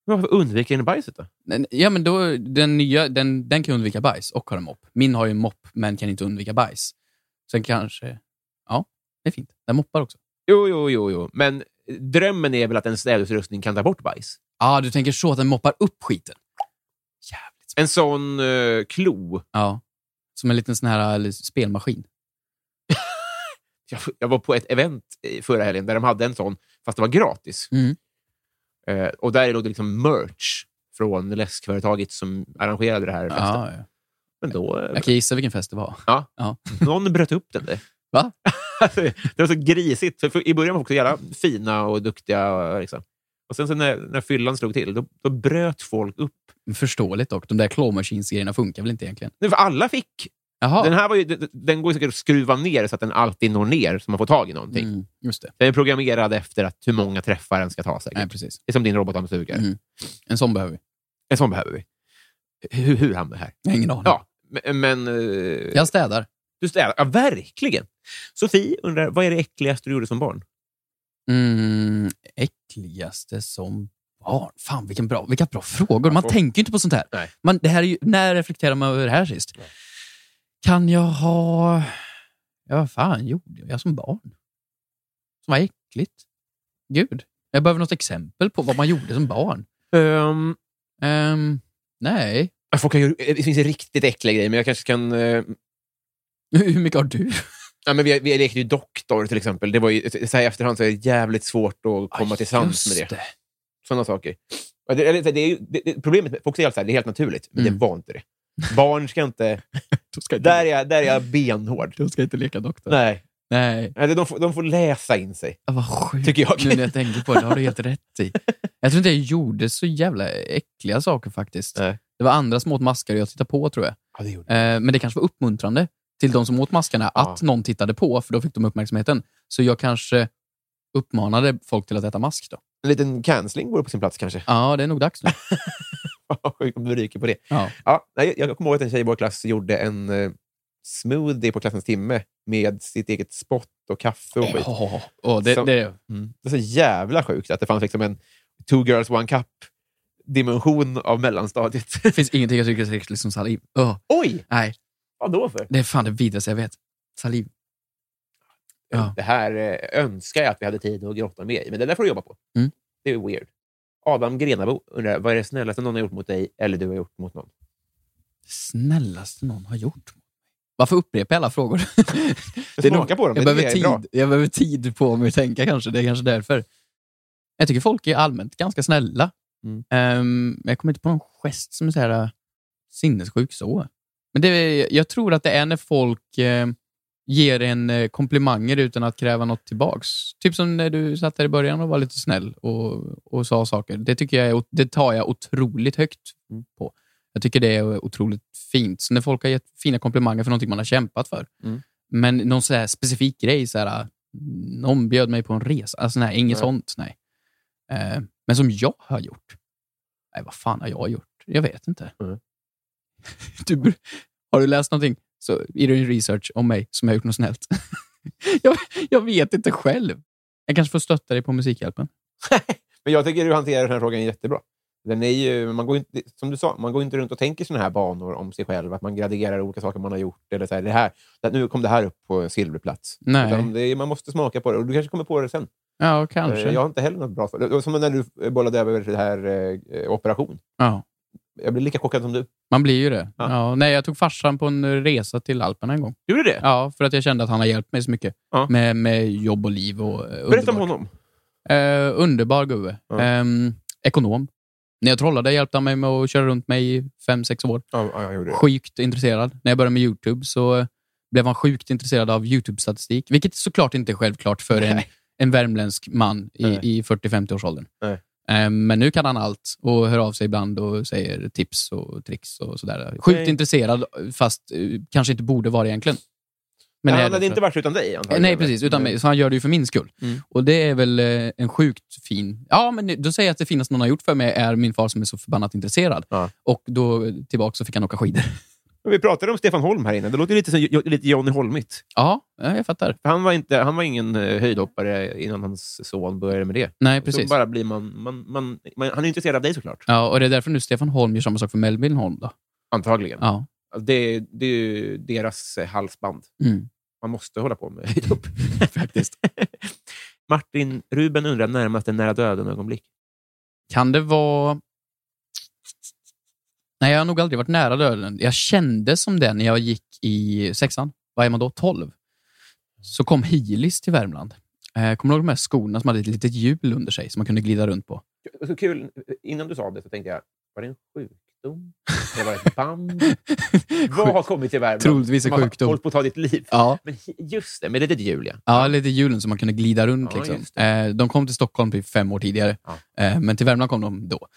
S1: Varför undviker den bajset då?
S2: Men- Ja, men då, den nya den, den kan undvika bajs och har en mopp. Min har ju en mopp, men kan inte undvika bajs. Sen kanske... Ja, det är fint. Den moppar också.
S1: Jo, jo, jo, jo. Men drömmen är väl att en städutrustning kan ta bort bajs?
S2: Ah, du tänker så att den moppar upp skiten? Jävligt smart.
S1: En sån eh, klo.
S2: Ja. Som en liten sån här eller, spelmaskin.
S1: Jag, jag var på ett event i förra helgen där de hade en sån, fast det var gratis.
S2: Mm.
S1: Eh, och där låg det liksom merch från läskföretaget som arrangerade det här festen.
S2: Ja, ja.
S1: Men då, eh,
S2: Jag kan gissa vilken fest det var.
S1: Ja.
S2: Ja.
S1: någon bröt upp den där.
S2: Va?
S1: Alltså, det var så grisigt. För- För I början var folk så jävla fina och duktiga. Och, liksom. och sen så när, när fyllan slog till, då, då bröt folk upp.
S2: Förståeligt dock. De där claw machines-grejerna funkar väl inte egentligen?
S1: Nej, För alla fick.
S2: Jaha.
S1: Den här var ju, den- den går ju säkert att skruva ner så att den alltid når ner, så man får tag i någonting.
S2: mm, just det.
S1: Den är programmerad efter att hur många träffar den ska ta. Säkert.
S2: Nej, precis.
S1: Det är som din robotdammsugare.
S2: Mm. En sån behöver vi.
S1: En sån behöver vi. Hur, hur hamnar vi här?
S2: Jag har ingen aning.
S1: Ja, men... men eh,
S2: Jag städar.
S1: Du städar. Ja, verkligen. Sofie undrar, vad är det äckligaste du gjorde som barn?
S2: Mm, äckligaste som barn? Fan, vilken bra, vilka bra frågor. Man
S1: får-
S2: tänker ju inte på sånt här.
S1: Nej.
S2: Man, det här är ju, när reflekterar man över det här sist? Kan jag ha... Ja, vad fan gjorde jag som barn? Som var äckligt? Gud, jag behöver något exempel på vad man gjorde som barn.
S1: Um,
S2: Ehm, nej.
S1: folk kan ju, det finns riktigt äckliga grejer, men jag kanske kan... eh,
S2: Hur mycket har du?
S1: ja, men vi, vi lekte ju doktor, till exempel. Det var ju, så här i efterhand så är det jävligt svårt att komma till sans med det.
S2: Just det.
S1: Sådana saker. Ja, Det, eller, det är ju, det, det, problemet med folk säger alltid så här, det är helt naturligt, men
S2: Mm.
S1: det var inte det. Barn ska inte...
S2: Då ska jag inte,
S1: Där är jag, där är jag benhård.
S2: då ska jag inte leka doktor. Nej.
S1: Nej, Eller de får, de får läsa in sig.
S2: Ja, Vad sjukt.
S1: Tycker jag.
S2: Nu när jag tänker på det, det har du helt rätt i. Jag tror inte jag gjorde så jävla äckliga saker faktiskt.
S1: Nej.
S2: Det var andra som åt maskar och jag tittade på tror jag.
S1: Ja, det gjorde
S2: Eh, men det kanske var uppmuntrande till de som åt maskarna
S1: Ja.
S2: att någon tittade på, för då fick de uppmärksamheten. Så jag kanske uppmanade folk till att äta mask då.
S1: En liten cancelling vore på sin plats kanske.
S2: Ja, det är nog dags nu.
S1: Om du ryker på det.
S2: Ja.
S1: Ja, nej, jag kommer ihåg att en tjej i vår klass gjorde en eh, smoothie på klassens timme med sitt eget spott och kaffe och skit.
S2: Åh, åh, det,
S1: Som-
S2: det,
S1: Det är så jävla sjukt att det fanns liksom en two girls one cup-dimension av mellanstadiet.
S2: det finns ingenting jag tycker är så äckligt som saliv. Åh,
S1: Oj!
S2: nej,
S1: Vad då för?
S2: det är fan det vidraste jag vet. Saliv. Ja.
S1: Det här eh, önskar jag att vi hade tid att grotta mer i, men det där får du jobba på.
S2: Mm.
S1: Det är weird. Adam Grenabo undrar, vad är det snällaste någon har gjort mot dig eller du har gjort mot någon?
S2: Det snällaste någon har gjort. Varför upprepar jag alla frågor?
S1: Smaka på dem,
S2: Jag
S1: det är
S2: behöver, tid,
S1: bra.
S2: jag behöver tid på mig att tänka kanske. Det är kanske därför. Jag tycker folk är allmänt ganska snälla.
S1: Mm.
S2: Ehm, jag kommer inte på någon gest som är så här, äh, sinnessjuk. så. Men det, är- jag tror att det är när folk eh, ger en eh, komplimanger utan att kräva något tillbaks. Typ som när du satt där i början och var lite snäll och, och sa saker. Det, tycker jag är, o- det tar jag otroligt högt
S1: Mm.
S2: på. Jag tycker det är otroligt fint. Så när folk har gett fina komplimanger för någonting man har kämpat för. Men någon så här specifik grej, så här, någon bjöd mig på en resa. Alltså, nej, inget
S1: Nej.
S2: sånt. Nej. Eh, men som jag har gjort. Nej, vad fan har jag gjort? Jag vet inte.
S1: Mm.
S2: du, br- har du läst någonting så, i din research om mig som jag har gjort något snällt? jag, jag vet inte själv. Jag kanske får stötta dig på Musikhjälpen.
S1: Men jag tycker du hanterar den här frågan jättebra. Den är ju, man går ju inte, som du sa, man går inte runt och tänker såna här banor om sig själv, att man graderar olika saker man har gjort. Eller så här, det här, det- nu kom det här upp på silverplats.
S2: Nej.
S1: Utan det, är- man måste smaka på det, och du kanske kommer på det sen.
S2: Ja, kanske.
S1: Eh, Jag har inte heller något bra svar. Det var Som när du bollade över det här eh, operation.
S2: Ja.
S1: Jag blev lika chockad som du.
S2: Man blir ju det.
S1: Ja.
S2: Ja, nej, jag tog farsan på en resa till Alperna en gång.
S1: Gjorde du det?
S2: Ja, för att jag kände att han har hjälpt mig så mycket
S1: Ja.
S2: med, med jobb och liv. Och, eh,
S1: Berätta om
S2: underbart.
S1: honom.
S2: Eh, underbar gubbe.
S1: Ja.
S2: Ehm, ekonom. När jag trollade hjälpte han mig med att köra runt mig i fem sex år.
S1: Ja, ja, jag gjorde det.
S2: Sjukt intresserad. När jag började med YouTube så eh, blev han sjukt intresserad av YouTube-statistik, vilket såklart inte är självklart för en,
S1: Nej.
S2: en värmländsk man i,
S1: Nej.
S2: i 40-50-årsåldern.
S1: Nej.
S2: Ehm, Men nu kan han allt och hör av sig ibland och säger tips och tricks och sådär. Sjukt
S1: Nej.
S2: intresserad, fast eh, kanske inte borde vara det egentligen.
S1: Men
S2: det är
S1: han
S2: det
S1: hade
S2: för-
S1: inte varit utan dig antagligen.
S2: Nej, precis. Utan mig. Så han gör det ju för min skull.
S1: Mm.
S2: Och det är väl eh, en sjukt fin... Ja, men då säger jag att det finaste någon har gjort för mig är min far som är så förbannat intresserad.
S1: Ja.
S2: Och då eh, tillbaka så fick han åka skidor.
S1: Men Vi pratade om Stefan Holm här inne. Det låter lite som Jo- lite Johnny Holmigt.
S2: Ja, ja, jag fattar.
S1: För Han var, inte, han var ingen eh, höjdhoppare innan hans son började med det.
S2: Nej,
S1: Så
S2: precis.
S1: bara blir man, man, man, man... Han är intresserad av dig såklart.
S2: Ja, och det är därför nu Stefan Holm gör samma sak för Melvin Holm. Då.
S1: Antagligen.
S2: Ja.
S1: Det, det är ju deras eh, halsband.
S2: Mm.
S1: Man måste hålla på med höjdhopp. Faktiskt. Martin Ruben undrar närmaste nära döden-ögonblick.
S2: Kan det vara... Nej, jag har nog aldrig varit nära döden. Jag kände som det när jag gick i sexan. Vad är man då? 12. Så kom Hilis till Värmland. Eh, kommer du ihåg de här skorna som hade ett litet hjul under sig som man kunde glida runt på?
S1: Så kul, innan du sa det så tänkte jag, var det en sjukdom? Eller var det ett band? Vad har kommit till Värmland?
S2: Troligtvis en
S1: Som har
S2: sjukdom.
S1: hållit på att ta ditt liv.
S2: Ja.
S1: Men hi- just det, med litet hjul ja.
S2: Ja, lite hjulen som man kunde glida runt.
S1: Ja,
S2: liksom.
S1: just
S2: eh, de kom till Stockholm typ fem år tidigare,
S1: Ja. Mm.
S2: eh, men till Värmland kom de då.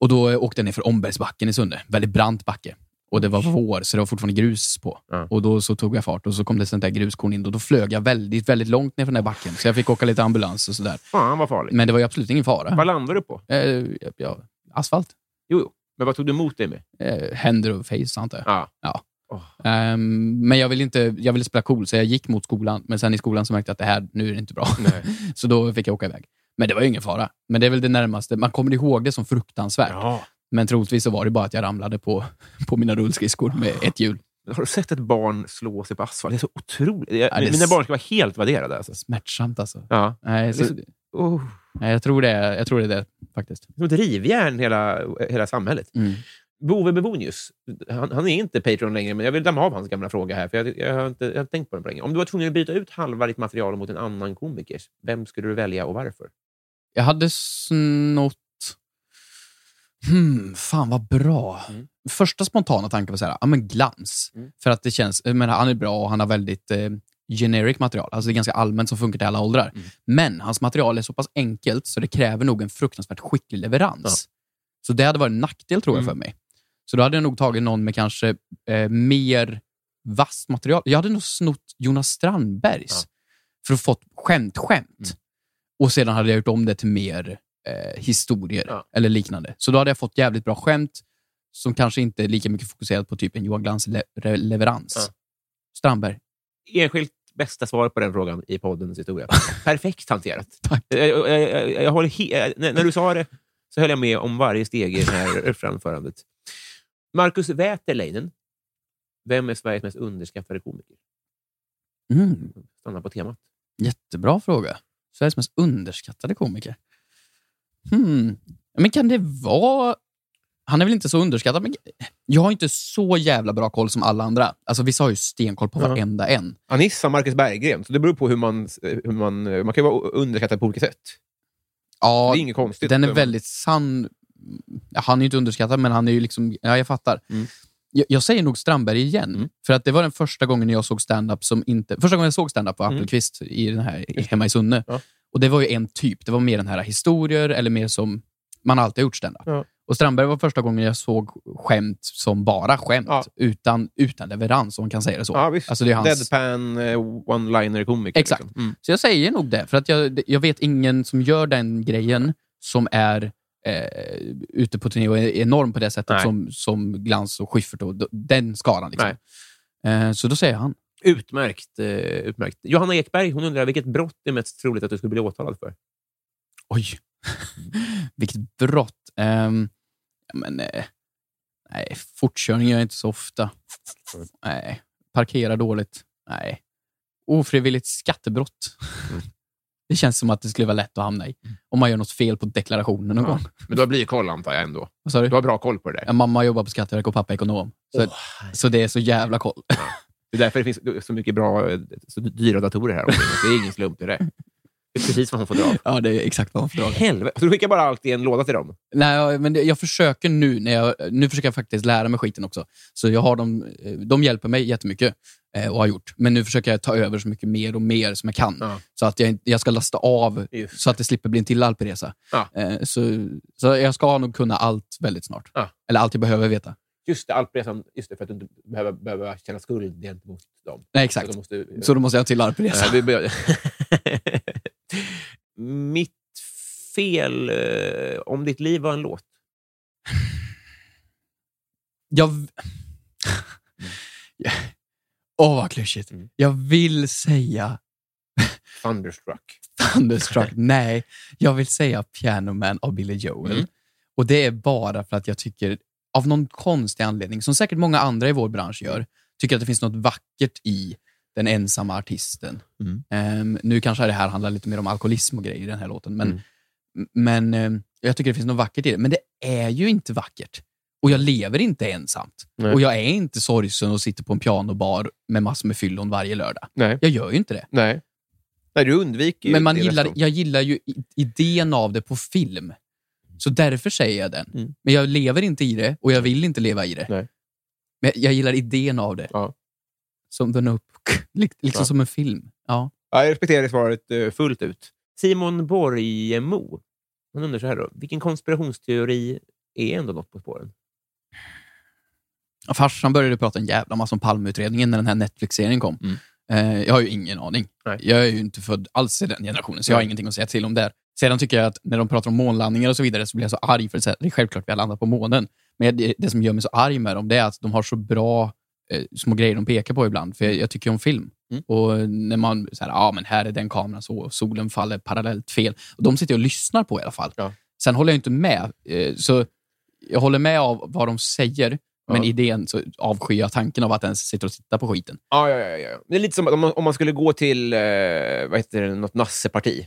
S2: Och Då eh, åkte jag ner för Ombergsbacken i Sunne, väldigt brant backe. Och Det var vår, så det var fortfarande grus på.
S1: Ja.
S2: Och Då så tog jag fart och så kom det sånt där gruskorn in och då flög jag väldigt, väldigt långt ner för den där backen. Så jag fick åka lite ambulans och sådär.
S1: Fan vad farligt.
S2: Men det var ju absolut ingen
S1: Vad
S2: fara.
S1: landade du på?
S2: Eh, ja, asfalt.
S1: Jo, jo. Men vad tog du emot dig med?
S2: Eh, händer och face, antar jag.
S1: Ja.
S2: Ja.
S1: Åh.
S2: Ehm, men jag ville, inte, jag ville spela cool, så jag gick mot skolan. Men sen i skolan så märkte jag att det här, nu är det inte bra. så då fick jag åka iväg. Men det var ju ingen fara. Men det är väl det närmaste. Man kommer ihåg det som fruktansvärt.
S1: Ja.
S2: Men troligtvis så var det bara att jag ramlade på, på mina rullskridskor med ett hjul.
S1: Men Har du sett ett barn slå sig på asfalt? Det är så otroligt. Jag,
S2: Ja, det är
S1: Mina
S2: s-
S1: barn ska vara helt värderade. Alltså.
S2: Smärtsamt alltså.
S1: Ja.
S2: Nej, så,
S1: Det Oh.
S2: nej, jag, tror det, är- jag tror det är det faktiskt.
S1: Som ett rivjärn, hela, hela samhället.
S2: Mm.
S1: Bove Bebonius, han, han är inte Patreon längre, men jag vill damma av hans gamla fråga här, för jag, jag, har inte, jag har inte tänkt på den på länge. Om du var tvungen att byta ut halva ditt material mot en annan komiker, vem skulle du välja och varför?
S2: Jag hade snott... Hmm, fan vad bra.
S1: Mm.
S2: Första spontana tanken var så här, ja, men glans.
S1: Mm.
S2: För att det känns, jag menar, han är bra och han har väldigt eh, generic material. Alltså det är ganska allmänt som funkar till alla åldrar.
S1: Mm.
S2: Men hans material är så pass enkelt så det kräver nog en fruktansvärt skicklig leverans. Så det hade varit en nackdel tror jag
S1: Mm.
S2: för mig. Så då hade jag nog tagit någon med kanske eh, mer vasst material. Jag hade nog snott Jonas Strandbergs
S1: Ja. Mm.
S2: för att fått skämt-skämt. Och sedan hade jag gjort om det till mer eh, historier
S1: Ja.
S2: eller liknande. Så då hade jag fått jävligt bra skämt som kanske inte är lika mycket fokuserat på typ en Johan Glans le- re- leverans.
S1: Ja.
S2: Strandberg,
S1: Enskilt bästa svar på den frågan i poddens historia. Perfekt hanterat.
S2: tack.
S1: Jag, jag, jag, jag håller he- när, när du sa det så höll jag med om varje steg i det här framförandet. Markus Wäterleinen, vem är Sveriges mest underskattade komiker?
S2: Mm,
S1: Stanna på temat.
S2: jättebra fråga. Sveriges mest underskattade komiker. Hmm. Men kan det vara... Han är väl inte så underskattad, men jag har inte så jävla bra koll som alla andra. Alltså Vissa har ju stenkoll på
S1: Ja.
S2: varenda en.
S1: Anissa Marcus Berggren, så det beror på hur man... eh, Hur man, man kan ju vara underskattad på olika sätt.
S2: Ja,
S1: det är inget konstigt.
S2: Den är väldigt sann. Ja, Han är ju inte underskattad, men han är ju liksom... Ja, jag fattar.
S1: Mm.
S2: Jag, jag säger nog Strandberg igen,
S1: Mm.
S2: för att det var den första gången jag såg stand-up som inte... Första gången jag såg stand-up var Appelqvist i den här, i- hemma i Sunne.
S1: Mm. Ja.
S2: Och det var ju en typ. Det var mer den här historier eller mer som man alltid har gjort stand-up.
S1: Ja.
S2: Och Strandberg var första gången jag såg skämt som bara skämt,
S1: Ja.
S2: utan, utan leverans, om man kan säga det så.
S1: Ja, visst.
S2: Alltså, det är hans-
S1: Deadpan, eh, one-liner-komiker.
S2: Exakt.
S1: Liksom. Mm.
S2: Så jag säger nog det, för att jag, jag vet ingen som gör den grejen som är eh, ute på turné och är enorm på det sättet
S1: Nej.
S2: som, som Glans och Schyffert och d- den skaran. Liksom. Eh, så då säger jag han.
S1: Utmärkt, eh, utmärkt. Johanna Ekberg hon undrar vilket brott det är mest troligt att du skulle bli åtalad för.
S2: Oj, vilket brott. Ehm, ja, men, eh, nej, fortkörning gör jag inte så ofta. Nej, parkera dåligt. Nej. Ofrivilligt skattebrott.
S1: Mm.
S2: Det känns som att det skulle vara lätt att hamna i. Om man gör något fel på deklarationen någon
S1: Ja.
S2: gång.
S1: Men du har blyerkoll, antar jag ändå.
S2: Vad sa du?
S1: Du har bra koll på det där.
S2: Ja, mamma jobbar på Skatteverket och pappa är ekonom. Så,
S1: Åh,
S2: så det är så jävla koll.
S1: Det är därför det finns så mycket bra, eh, så dyra datorer här omkring oss. Det är ingen slump i det. Det är precis vad hon får dra av.
S2: Ja, det är exakt vad hon fördrag.
S1: Helvete. Så du skickar bara allt i en låda till dem?
S2: Nej, jag- men det- jag försöker nu, när jag, nu försöker jag faktiskt lära mig skiten också. Så jag har dem, eh, de hjälper mig jättemycket eh, och har gjort. Men nu försöker jag ta över så mycket mer och mer som jag kan.
S1: Ja.
S2: Så att jag, inte- jag ska lasta av
S1: Just.
S2: så att det slipper bli en till alperesa.
S1: Ja.
S2: Eh, Så, så jag ska nog kunna allt väldigt snart.
S1: Ja.
S2: Eller allt jag behöver veta.
S1: Just det, alpresan. Just det, för att du inte behöver, behöver känna skuld gentemot dem.
S2: Nej,
S1: Så
S2: exakt.
S1: de måste,
S2: Så då måste jag ha en till alperesa.
S1: Nej, Eh, vi började. Mitt fel eh, om ditt liv var en låt.
S2: Jag... Åh, vad klyschigt.
S1: Mm.
S2: Jag vill säga
S1: Thunderstruck.
S2: Thunderstruck. Nej, jag vill säga Piano Man av Billy Joel.
S1: Mm.
S2: Och Det är bara för att jag tycker, av någon konstig anledning, som säkert många andra i vår bransch gör, tycker att det finns något vackert i den ensamma artisten.
S1: Mm.
S2: Ehm, nu kanske det här handlar lite mer om alkoholism och grejer i den här låten, men,
S1: Mm.
S2: m- men ehm, jag tycker det finns något vackert i det. Men det är ju inte vackert. Och jag lever inte ensamt.
S1: Nej.
S2: Och jag är inte sorgsen och sitter på en pianobar med massor med fyllon varje lördag.
S1: Nej.
S2: Jag gör ju inte det.
S1: Nej. Nej, du undviker ju
S2: Men man
S1: det
S2: gillar,
S1: resten.
S2: jag gillar ju i- idén av det på film. Så därför säger jag den.
S1: Mm.
S2: Men jag lever inte i det och jag vill inte leva i det.
S1: Nej.
S2: Men jag gillar idén av det.
S1: Ja.
S2: Som den är upp, liksom
S1: Ja.
S2: som en film. Ja.
S1: Ja, jag respekterar det svaret eh, fullt ut. Simon Borgemo. Han undrar så här då. Vilken konspirationsteori är ändå något på spåren?
S2: Ja, Farsan började prata en jävla massa om Palmeutredningen när den här Netflix-serien kom.
S1: Mm.
S2: Eh, jag har ju ingen aning.
S1: Nej.
S2: Jag är ju inte född alls i den generationen, så jag har
S1: Nej.
S2: ingenting att säga till om där. Sedan tycker jag att när de pratar om månlandningar och så vidare så blir jag så arg, för att säga, det är självklart vi har landat på månen. Men det, det som gör mig så arg med dem, det är att de har så bra eh, små grejer de pekar på ibland, för jag, jag tycker ju om film.
S1: Mm.
S2: Och när man säger, ja men här är den kameran så, och solen faller parallellt fel. Och de sitter jag och lyssnar på i alla fall.
S1: Ja.
S2: Sen håller jag inte med, eh, så jag håller med av vad de säger, men
S1: Ja.
S2: idén så avskyr jag tanken av att ens sitter och tittar på skiten.
S1: Ja, ja, ja, ja. Det är lite som att om man, om man skulle gå till eh, vad heter det, något nasseparti.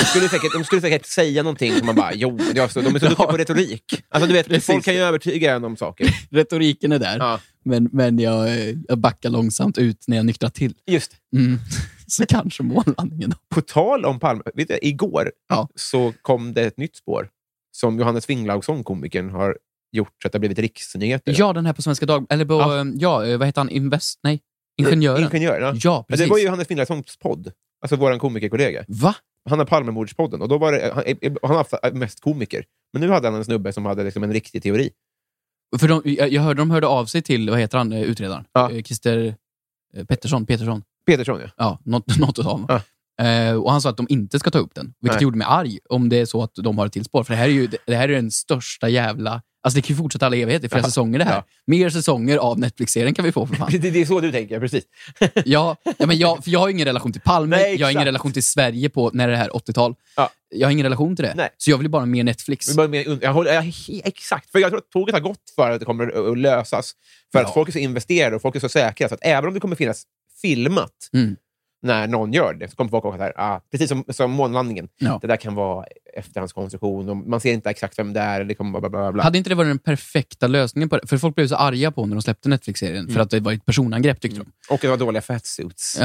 S1: De skulle, säkert, de skulle säkert säga någonting som man bara, jo, det är så, de är så duktiga på retorik. Alltså, du vet,
S2: Precis.
S1: Folk kan ju övertyga en om saker.
S2: Retoriken är där,
S1: Ja.
S2: men, men jag, eh, jag backar långsamt ut när jag nyktrar till.
S1: Just
S2: Mm. Så kanske månlandningen. då.
S1: På tal om Palme, vet du, igår
S2: Ja.
S1: så kom det ett nytt spår som Johannes Winglaugsson, komikern, har gjort så att det har blivit riksnyheter.
S2: Ja, den här på Svenska Dag... Eller på,
S1: Ja.
S2: ja. ja, eh, vad heter han? Invest? Nej, Ingenjören.
S1: Ingenjörerna.
S2: Ja,
S1: Ja, Alltså,
S2: precis.
S1: Det var ju Johannes Finnlagssons podd, alltså vår komikerkollega.
S2: Va?
S1: Han har Palmemordspodden och då var det, han, eh, han har haft mest komiker. Men nu hade han en snubbe som hade liksom en riktig teori.
S2: För de, jag, jag hörde de hörde av sig till, vad heter han, eh, utredaren?
S1: Ja.
S2: Eh, Christer eh, Pettersson, Petersson.
S1: Petersson, ja.
S2: Ja, något, något av dem.
S1: Ja.
S2: Eh, och han sa att de inte ska ta upp den, vilket
S1: Nej.
S2: gjorde mig arg om det är så att de har ett till spår. För det här är ju det, det här är den största jävla... Alltså det kan ju fortsätta alla evigheter, i flera
S1: Ja.
S2: säsonger det här.
S1: Ja.
S2: Mer säsonger av Netflix-serien kan vi få för fan.
S1: Det, det är så du tänker, precis.
S2: Ja, ja men jag, för jag har ingen relation till Palme,
S1: Nej,
S2: jag har ingen
S1: exakt.
S2: relation till Sverige på när det här 80-tal.
S1: Ja.
S2: Jag har ingen relation till det.
S1: Nej.
S2: Så jag vill bara ha mer Netflix.
S1: Men bara mer und- Jag håller, jag, he- exakt, för jag tror att tåget har gått för att det kommer att- att lösas. För
S2: Ja.
S1: att folk är så investerade och folk är så säkra. Så att även om det kommer finnas filmat
S2: Mm.
S1: när någon gör det, så kommer folk åka så här, ah, precis som, som månlandningen.
S2: Ja.
S1: Det där kan vara efterhandskonstruktion och man ser inte exakt vem det är. Det kommer bla, bla, bla, bla.
S2: Hade inte det varit den perfekta lösningen på det? För folk blev så arga på när de släppte Netflix-serien,
S1: Mm.
S2: för att det var ett personangrepp tyckte
S1: Och det var dåliga fatsuits.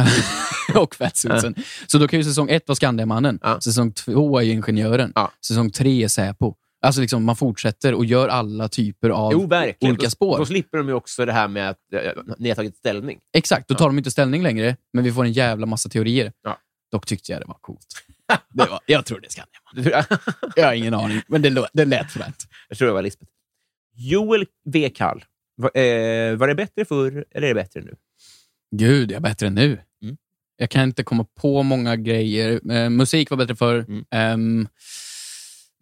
S2: de. och fatsuitsen. Så då kan ju säsong ett vara Skandiamannen,
S1: Ja.
S2: säsong två är ju Ingenjören,
S1: Ja.
S2: säsong tre är Säpo. Alltså liksom, man fortsätter och gör alla typer av
S1: Jo, verkligen.
S2: olika
S1: Då-
S2: spår.
S1: Då slipper de ju också det här med att eh, ni har tagit ställning.
S2: Exakt, då tar de inte ställning längre, men vi får en jävla massa teorier.
S1: Ja.
S2: Dock tyckte jag det var coolt. Det var, jag tror det är Skandiamannen.
S1: jag
S2: Jag har ingen aning, men det, lå- det lät fränt.
S1: tror det var Lisbeth. Joel V. Kall. Var, eh, var det bättre förr eller är det bättre nu?
S2: Gud, jag är bättre än nu.
S1: Mm.
S2: Jag kan inte komma på många grejer. Eh, musik var bättre förr.
S1: Mm.
S2: Ehm,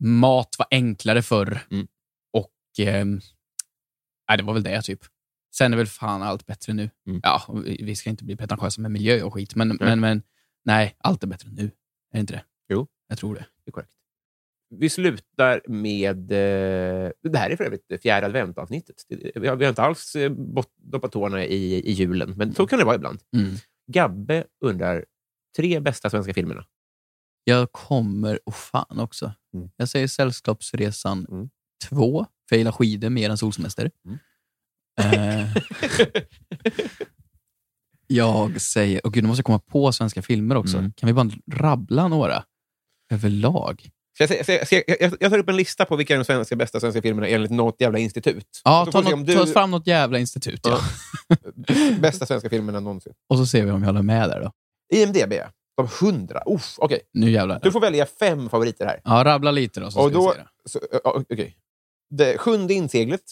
S2: mat var enklare förr.
S1: Mm.
S2: Och... ehm, nej, det var väl det, typ. Sen är väl fan allt bättre nu.
S1: Mm.
S2: Ja, och vi vi ska inte bli pretentiösa med miljö och skit, men, men, men nej, allt är bättre nu. Är det inte det?
S1: Jo.
S2: Jag tror det.
S1: Det är korrekt. Vi slutar med... Eh, det här är för övrigt det fjärde adventavsnittet. Det- Vi har, vi har inte alls eh, bott- doppat tårna i, i julen, men så kan det vara ibland.
S2: Mm.
S1: Gabbe undrar, tre bästa svenska filmerna?
S2: Jag kommer... Oh fan också. Jag säger Sällskapsresan
S1: Mm.
S2: 2, för jag gillar skidor mer än solsemester. Eh, jag säger... Och gud, nu måste jag komma på svenska filmer också.
S1: Mm.
S2: Kan vi bara rabbla några överlag?
S1: Ska jag, säga- ska jag, ska jag, jag, jag tar upp en lista på vilka de svenska, bästa svenska filmerna är enligt något jävla institut.
S2: Ja,
S1: Så
S2: ta,
S1: får vi se
S2: något, ta fram något jävla institut. Ja.
S1: Ja. Bästa svenska filmerna någonsin.
S2: Och så ser vi om jag håller med där. då.
S1: IMDB, de hundra. Uff, okej.
S2: Nu jävlar.
S1: Du får välja fem favoriter här.
S2: Ja, rabbla lite då. Så
S1: Och
S2: ska
S1: då-
S2: vi se det.
S1: Så, ö, ö, okej. Det sjunde inseglet.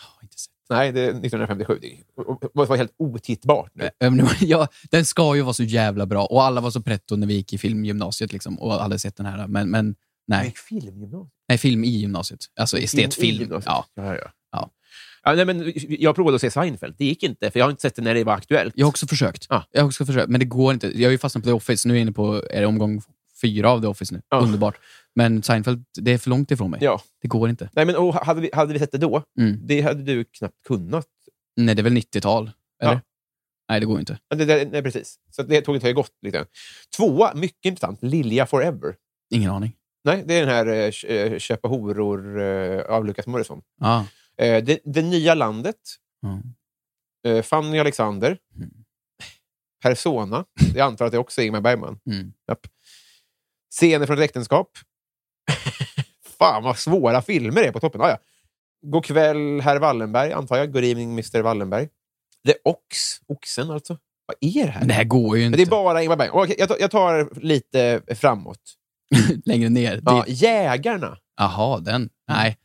S2: Ja, inte sett.
S1: Nej, det är 1957. Det var helt otittbart nu.
S2: Nej, men det var- Ja, den ska ju vara så jävla bra och alla var så pretto när vi gick i filmgymnasiet liksom, och hade sett den här. Men, men nej.
S1: Filmgymnasiet.
S2: nej, film i gymnasiet. Alltså estetfilm. ja.
S1: ja, ja.
S2: Ja.
S1: Ja, nej, men jag provade att se Seinfeld. Det gick inte, för jag har inte sett det när det var aktuellt.
S2: Jag har också försökt.
S1: Ja.
S2: Jag har också försökt, men det går inte. Jag är ju fastnat på The Office. Nu är jag inne på är det omgång fyra av The Office nu.
S1: Ja.
S2: Underbart. Men Seinfeld, det är för långt ifrån mig.
S1: Ja.
S2: Det går inte.
S1: Nej, men, och hade, vi, hade vi sett det då,
S2: Mm.
S1: det hade du knappt kunnat.
S2: Nej, det är väl 90-tal? Eller?
S1: Ja.
S2: Nej, det går inte.
S1: Ja, Det, där- nej, precis. Så det tåget har ju gått. Lite. Tvåa, mycket intressant. Lilja Forever.
S2: Ingen aning.
S1: Nej, det är den här eh, k- eh, Köpa horor eh, av Lukas Morrison.
S2: Ja.
S1: Eh, det, det nya landet.
S2: Mm.
S1: Eh, Fanny Alexander. Persona. Jag antar att det också är Ingmar Bergman.
S2: Mm.
S1: Japp. Scener från ett äktenskap. Fan vad svåra filmer det är på toppen. Ah, ja. God kväll herr Wallenberg, antar jag. Good evening Mr Wallenberg. The Ox. Oxen alltså. Vad är det här?
S2: Men det här går ju
S1: Men
S2: inte.
S1: det är bara Ingmar Bergman. Okej, jag, tar, jag tar lite framåt.
S2: Längre ner.
S1: Ja,
S2: Ja.
S1: Jägarna.
S2: Jaha, den. Nej.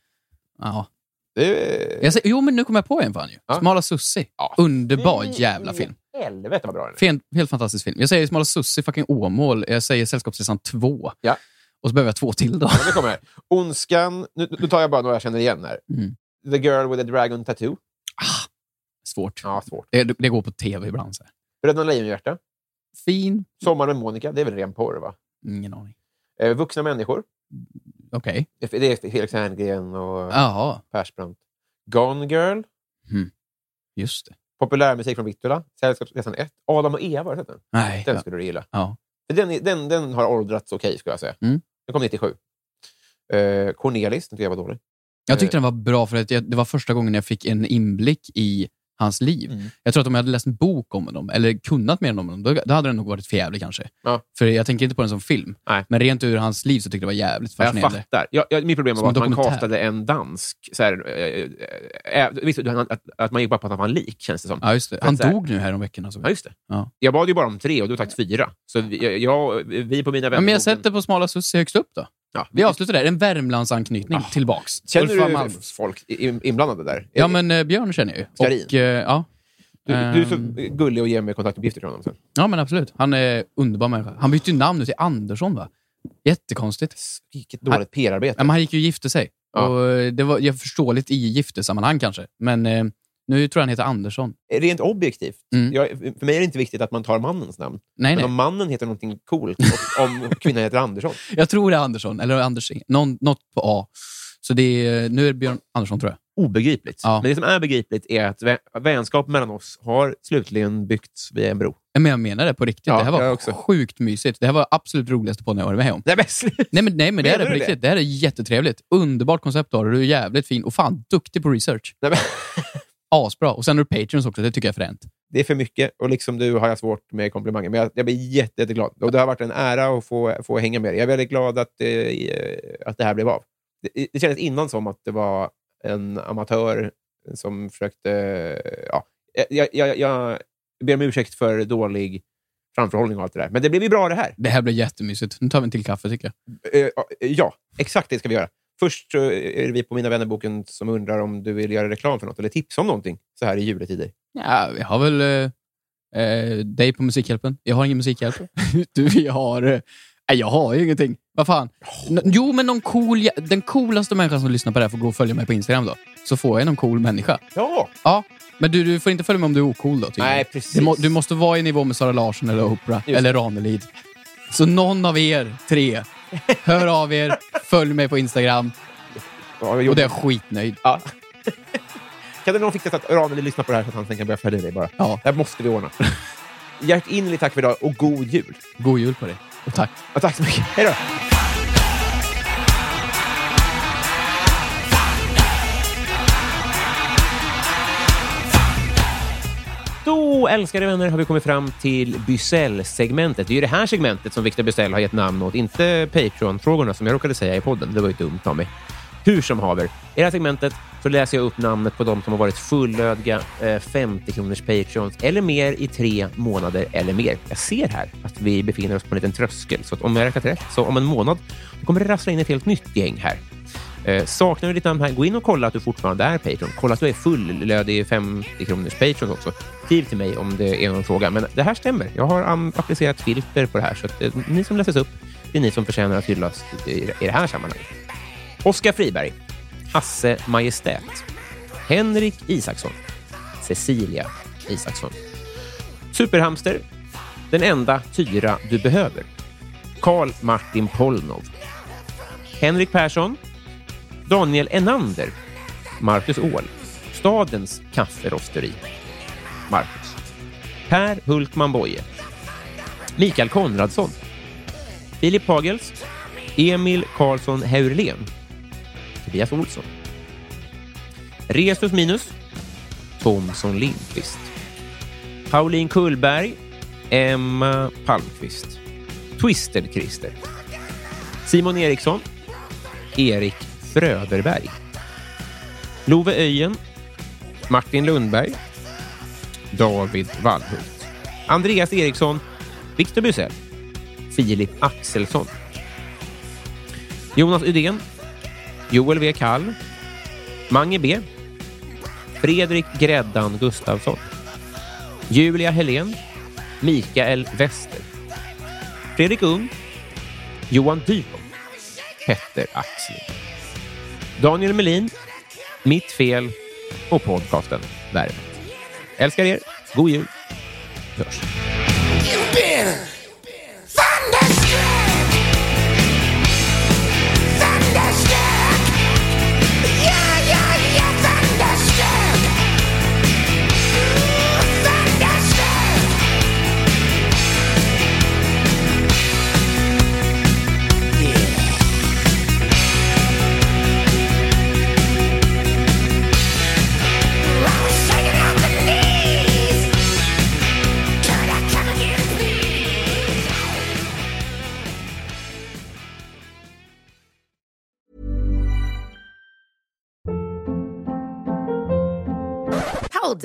S2: Ja.
S1: Det-
S2: Jag säger, jo, men nu kommer jag på en fan ju.
S1: Ja.
S2: Smala Sussi.
S1: Ja.
S2: Underbar
S1: Fy
S2: jävla film.
S1: i Helvete vad bra den är.
S2: Helt, helt fantastisk film. Jag säger Smala Sussi, fucking Åmål. Jag säger Sällskapsresan 2.
S1: Ja.
S2: Och så behöver jag två till då.
S1: Ja, det kommer här. Ondskan. Nu, nu tar jag bara några jag känner igen här.
S2: Mm.
S1: The Girl with the Dragon Tattoo.
S2: Svårt.
S1: Ja, svårt.
S2: Det, det går på tv ibland. Så här.
S1: Bröderna Lejonhjärta.
S2: Fin?
S1: Sommar med Monica. Det är väl ren porr, va?
S2: Ingen aning.
S1: Eh, vuxna människor.
S2: Okej.
S1: Det är Felix Herngren och
S2: Jaha,
S1: Persbrandt. Gone Girl.
S2: just det.
S1: Populärmusik från Vittula. Sällskapsresan 1. Adam och Eva, har du sett den?
S2: Nej.
S1: Den
S2: ja.
S1: skulle du gilla.
S2: Ja.
S1: För Den, är- den, den har åldrats okej, skulle jag säga.
S2: Mm.
S1: Den kom 97. Eh, Cornelis, den tycker jag var dålig.
S2: Jag
S1: Eh.
S2: tyckte den var bra för att jag, det var första gången jag fick en inblick i hans liv.
S1: Mm.
S2: Jag tror att om jag hade läst en bok om honom, eller kunnat mer om honom, då, då hade den nog varit för jävlig kanske.
S1: Ja.
S2: För jag tänker inte på den som film.
S1: Nej.
S2: Men rent ur hans liv så tyckte jag det var jävligt
S1: Ja, Jag
S2: fascinerande.
S1: fattar. Jag, jag, mitt problem
S2: Som
S1: var att man
S2: dokumentär.
S1: castade en dansk. Så här, eh, eh, visst, du, han- att, att man gick bara på att han var lik, känns det som.
S2: ja, just det. Han
S1: Så här-
S2: dog nu här om veckan. Alltså.
S1: Ja, just det.
S2: Ja.
S1: Jag bad ju bara om tre och du har tagit fyra. Så vi, jag, jag, vi på mina
S2: Ja,
S1: vänner...
S2: men jag sätter på Smala Sussie högst upp då.
S1: Ja.
S2: Vi avslutar där. En Värmlandsanknytning
S1: Ah.
S2: tillbaks. Ulfa
S1: Känner
S2: Malm.
S1: du folk i- in- inblandade där?
S2: Ja, men eh, Björn känner jag ju.
S1: Skarin.
S2: Och, eh, ja.
S1: Du, du är så
S2: Ehm.
S1: gullig och ger mig kontaktuppgifter till honom sen.
S2: ja, men absolut. Han är underbar människa. Han bytte ju namn nu till Andersson, va? Jättekonstigt.
S1: Vilket
S2: Nej.
S1: dåligt
S2: Ja,
S1: PR-arbete.
S2: men han gick ju och gifte sig.
S1: Ja.
S2: Och eh, det var jag förståeligt i giftesammanhang kanske, men eh, nu tror jag han heter Andersson.
S1: Rent objektivt,
S2: Mm.
S1: jag, för mig är det inte viktigt att man tar mannens namn.
S2: Nej,
S1: men
S2: nej.
S1: om mannen heter någonting coolt och om kvinnan heter Andersson.
S2: Jag tror det är Andersson, eller Andersson. Någon, något på A. Så det är, eh, nu är det Björn Andersson, tror jag.
S1: Obegripligt.
S2: Ja.
S1: Men det som är begripligt är att vä- vänskap mellan oss har slutligen byggts via en bro.
S2: Men jag menar det på riktigt.
S1: Ja,
S2: det här
S1: jag
S2: var
S1: också.
S2: sjukt mysigt. Det här var absolut roligaste podden jag varit med om.
S1: Nej, men slut!
S2: Nej, men, nej, men det här är
S1: Menar
S2: på
S1: du
S2: riktigt. Det? här är jättetrevligt. Underbart koncept har du. Du är jävligt fin och fan duktig på research.
S1: Nej, men,
S2: Asbra. Och sen har du Patreons också. Det tycker jag är fränt.
S1: det är för mycket och liksom du har jag svårt med komplimanger. Men jag, jag blir jätte, jätteglad. Och det har varit en ära att få, få hänga med dig. Jag är väldigt glad att, eh, att det här blev av. Det, det kändes innan som att det var en amatör som försökte... Ja, jag, jag, jag ber om ursäkt för dålig framförhållning och allt det där. Men det blev ju bra det här.
S2: Det här blir jättemysigt. Nu tar vi en till kaffe, tycker jag.
S1: Eh, Ja, exakt det ska vi göra. Först så är det vi på Mina vännerboken som undrar om du vill göra reklam för något eller tipsa om någonting så här i juletider.
S2: Ja, vi har väl eh, eh, dig på Musikhjälpen. Jag har ingen Musikhjälp. du, vi har... Eh, nej, jag har ju ingenting. Vad fan?
S1: Oh.
S2: N- jo, men någon cool, jä- den coolaste människan som lyssnar på det här får gå och följa mig på Instagram då. Så får jag någon cool människa.
S1: Ja!
S2: Ja, men du, du får inte följa mig om du är ocool då. tycker
S1: Nej,
S2: jag.
S1: precis.
S2: Du, må, du måste vara i nivå med Sara Larsson eller Oprah
S1: Just.
S2: eller Ranelid. Så någon av er tre, hör av er, följ mig på Instagram
S1: ja jag
S2: och det är jag skitnöjd.
S1: ja. Kan det någon fixa så att Ranelid lyssnar på det här så att han sen kan börja följa dig bara?
S2: Ja.
S1: Det här måste vi ordna. Hjärtinnerligt tack för idag och god jul!
S2: God jul på dig och tack.
S1: Ja, tack så mycket. Hej då! Då, älskade vänner, har vi kommit fram till Bysell-segmentet. Det är ju det här segmentet som Victor Bysell har gett namn åt, inte Patreon-frågorna som jag råkade säga i podden. Det var ju dumt av mig. Hur som haver, i det här segmentet så läser jag upp namnet på de som har varit fullödiga eh, 50 kronors Patreons eller mer i tre månader eller mer. Jag ser här att vi befinner oss på en liten tröskel, så att om jag har räknat rätt, så om en månad då kommer det rassla in ett helt nytt gäng här. Eh, saknar du ditt namn här, gå in och kolla att du fortfarande är Patreon. Kolla att du är fullödig 50 kronors Patreon också. Skriv till mig om det är någon fråga. Men det här stämmer. Jag har am- applicerat filter på det här. Så att, eh, ni som läses upp, det är ni som förtjänar att hyllas i, i det här sammanhanget. Oskar Friberg. Hasse Majestät. Henrik Isaksson. Cecilia Isaksson. Superhamster. Den enda tyra du behöver. Karl Martin Polnov. Henrik Persson. Daniel Enander, Marcus Åhl, Stadens kafferosteri, Marcus, Per Hultman Boye, Mikael Konradsson, Filip Hagels, Emil Karlsson Heurlen, Tobias Olsson, Resus Minus, Thomson Lindqvist, Pauline Kullberg, Emma Palmqvist. Twister-Christer. Simon Eriksson. Erik Fröderberg. Love Öjen. Martin Lundberg. David Wallhult. Andreas Eriksson. Viktor Busell. Filip Axelsson. Jonas Uden. Joel W. Kall. Mange B. Fredrik Gräddan Gustafsson. Julia Helén. Mikael Wester. Fredrik Ung. Johan Dybom. Petter Axling. Daniel Melin. Mitt fel och podcasten Värvet. Älskar er. God jul. Hörs.
S5: You've been thunderstruck, thunderstruck. Yeah, yeah, yeah, thunderstruck, thunderstruck. Yeah. I was shaking out the knees. Could I come again, please?
S6: Hold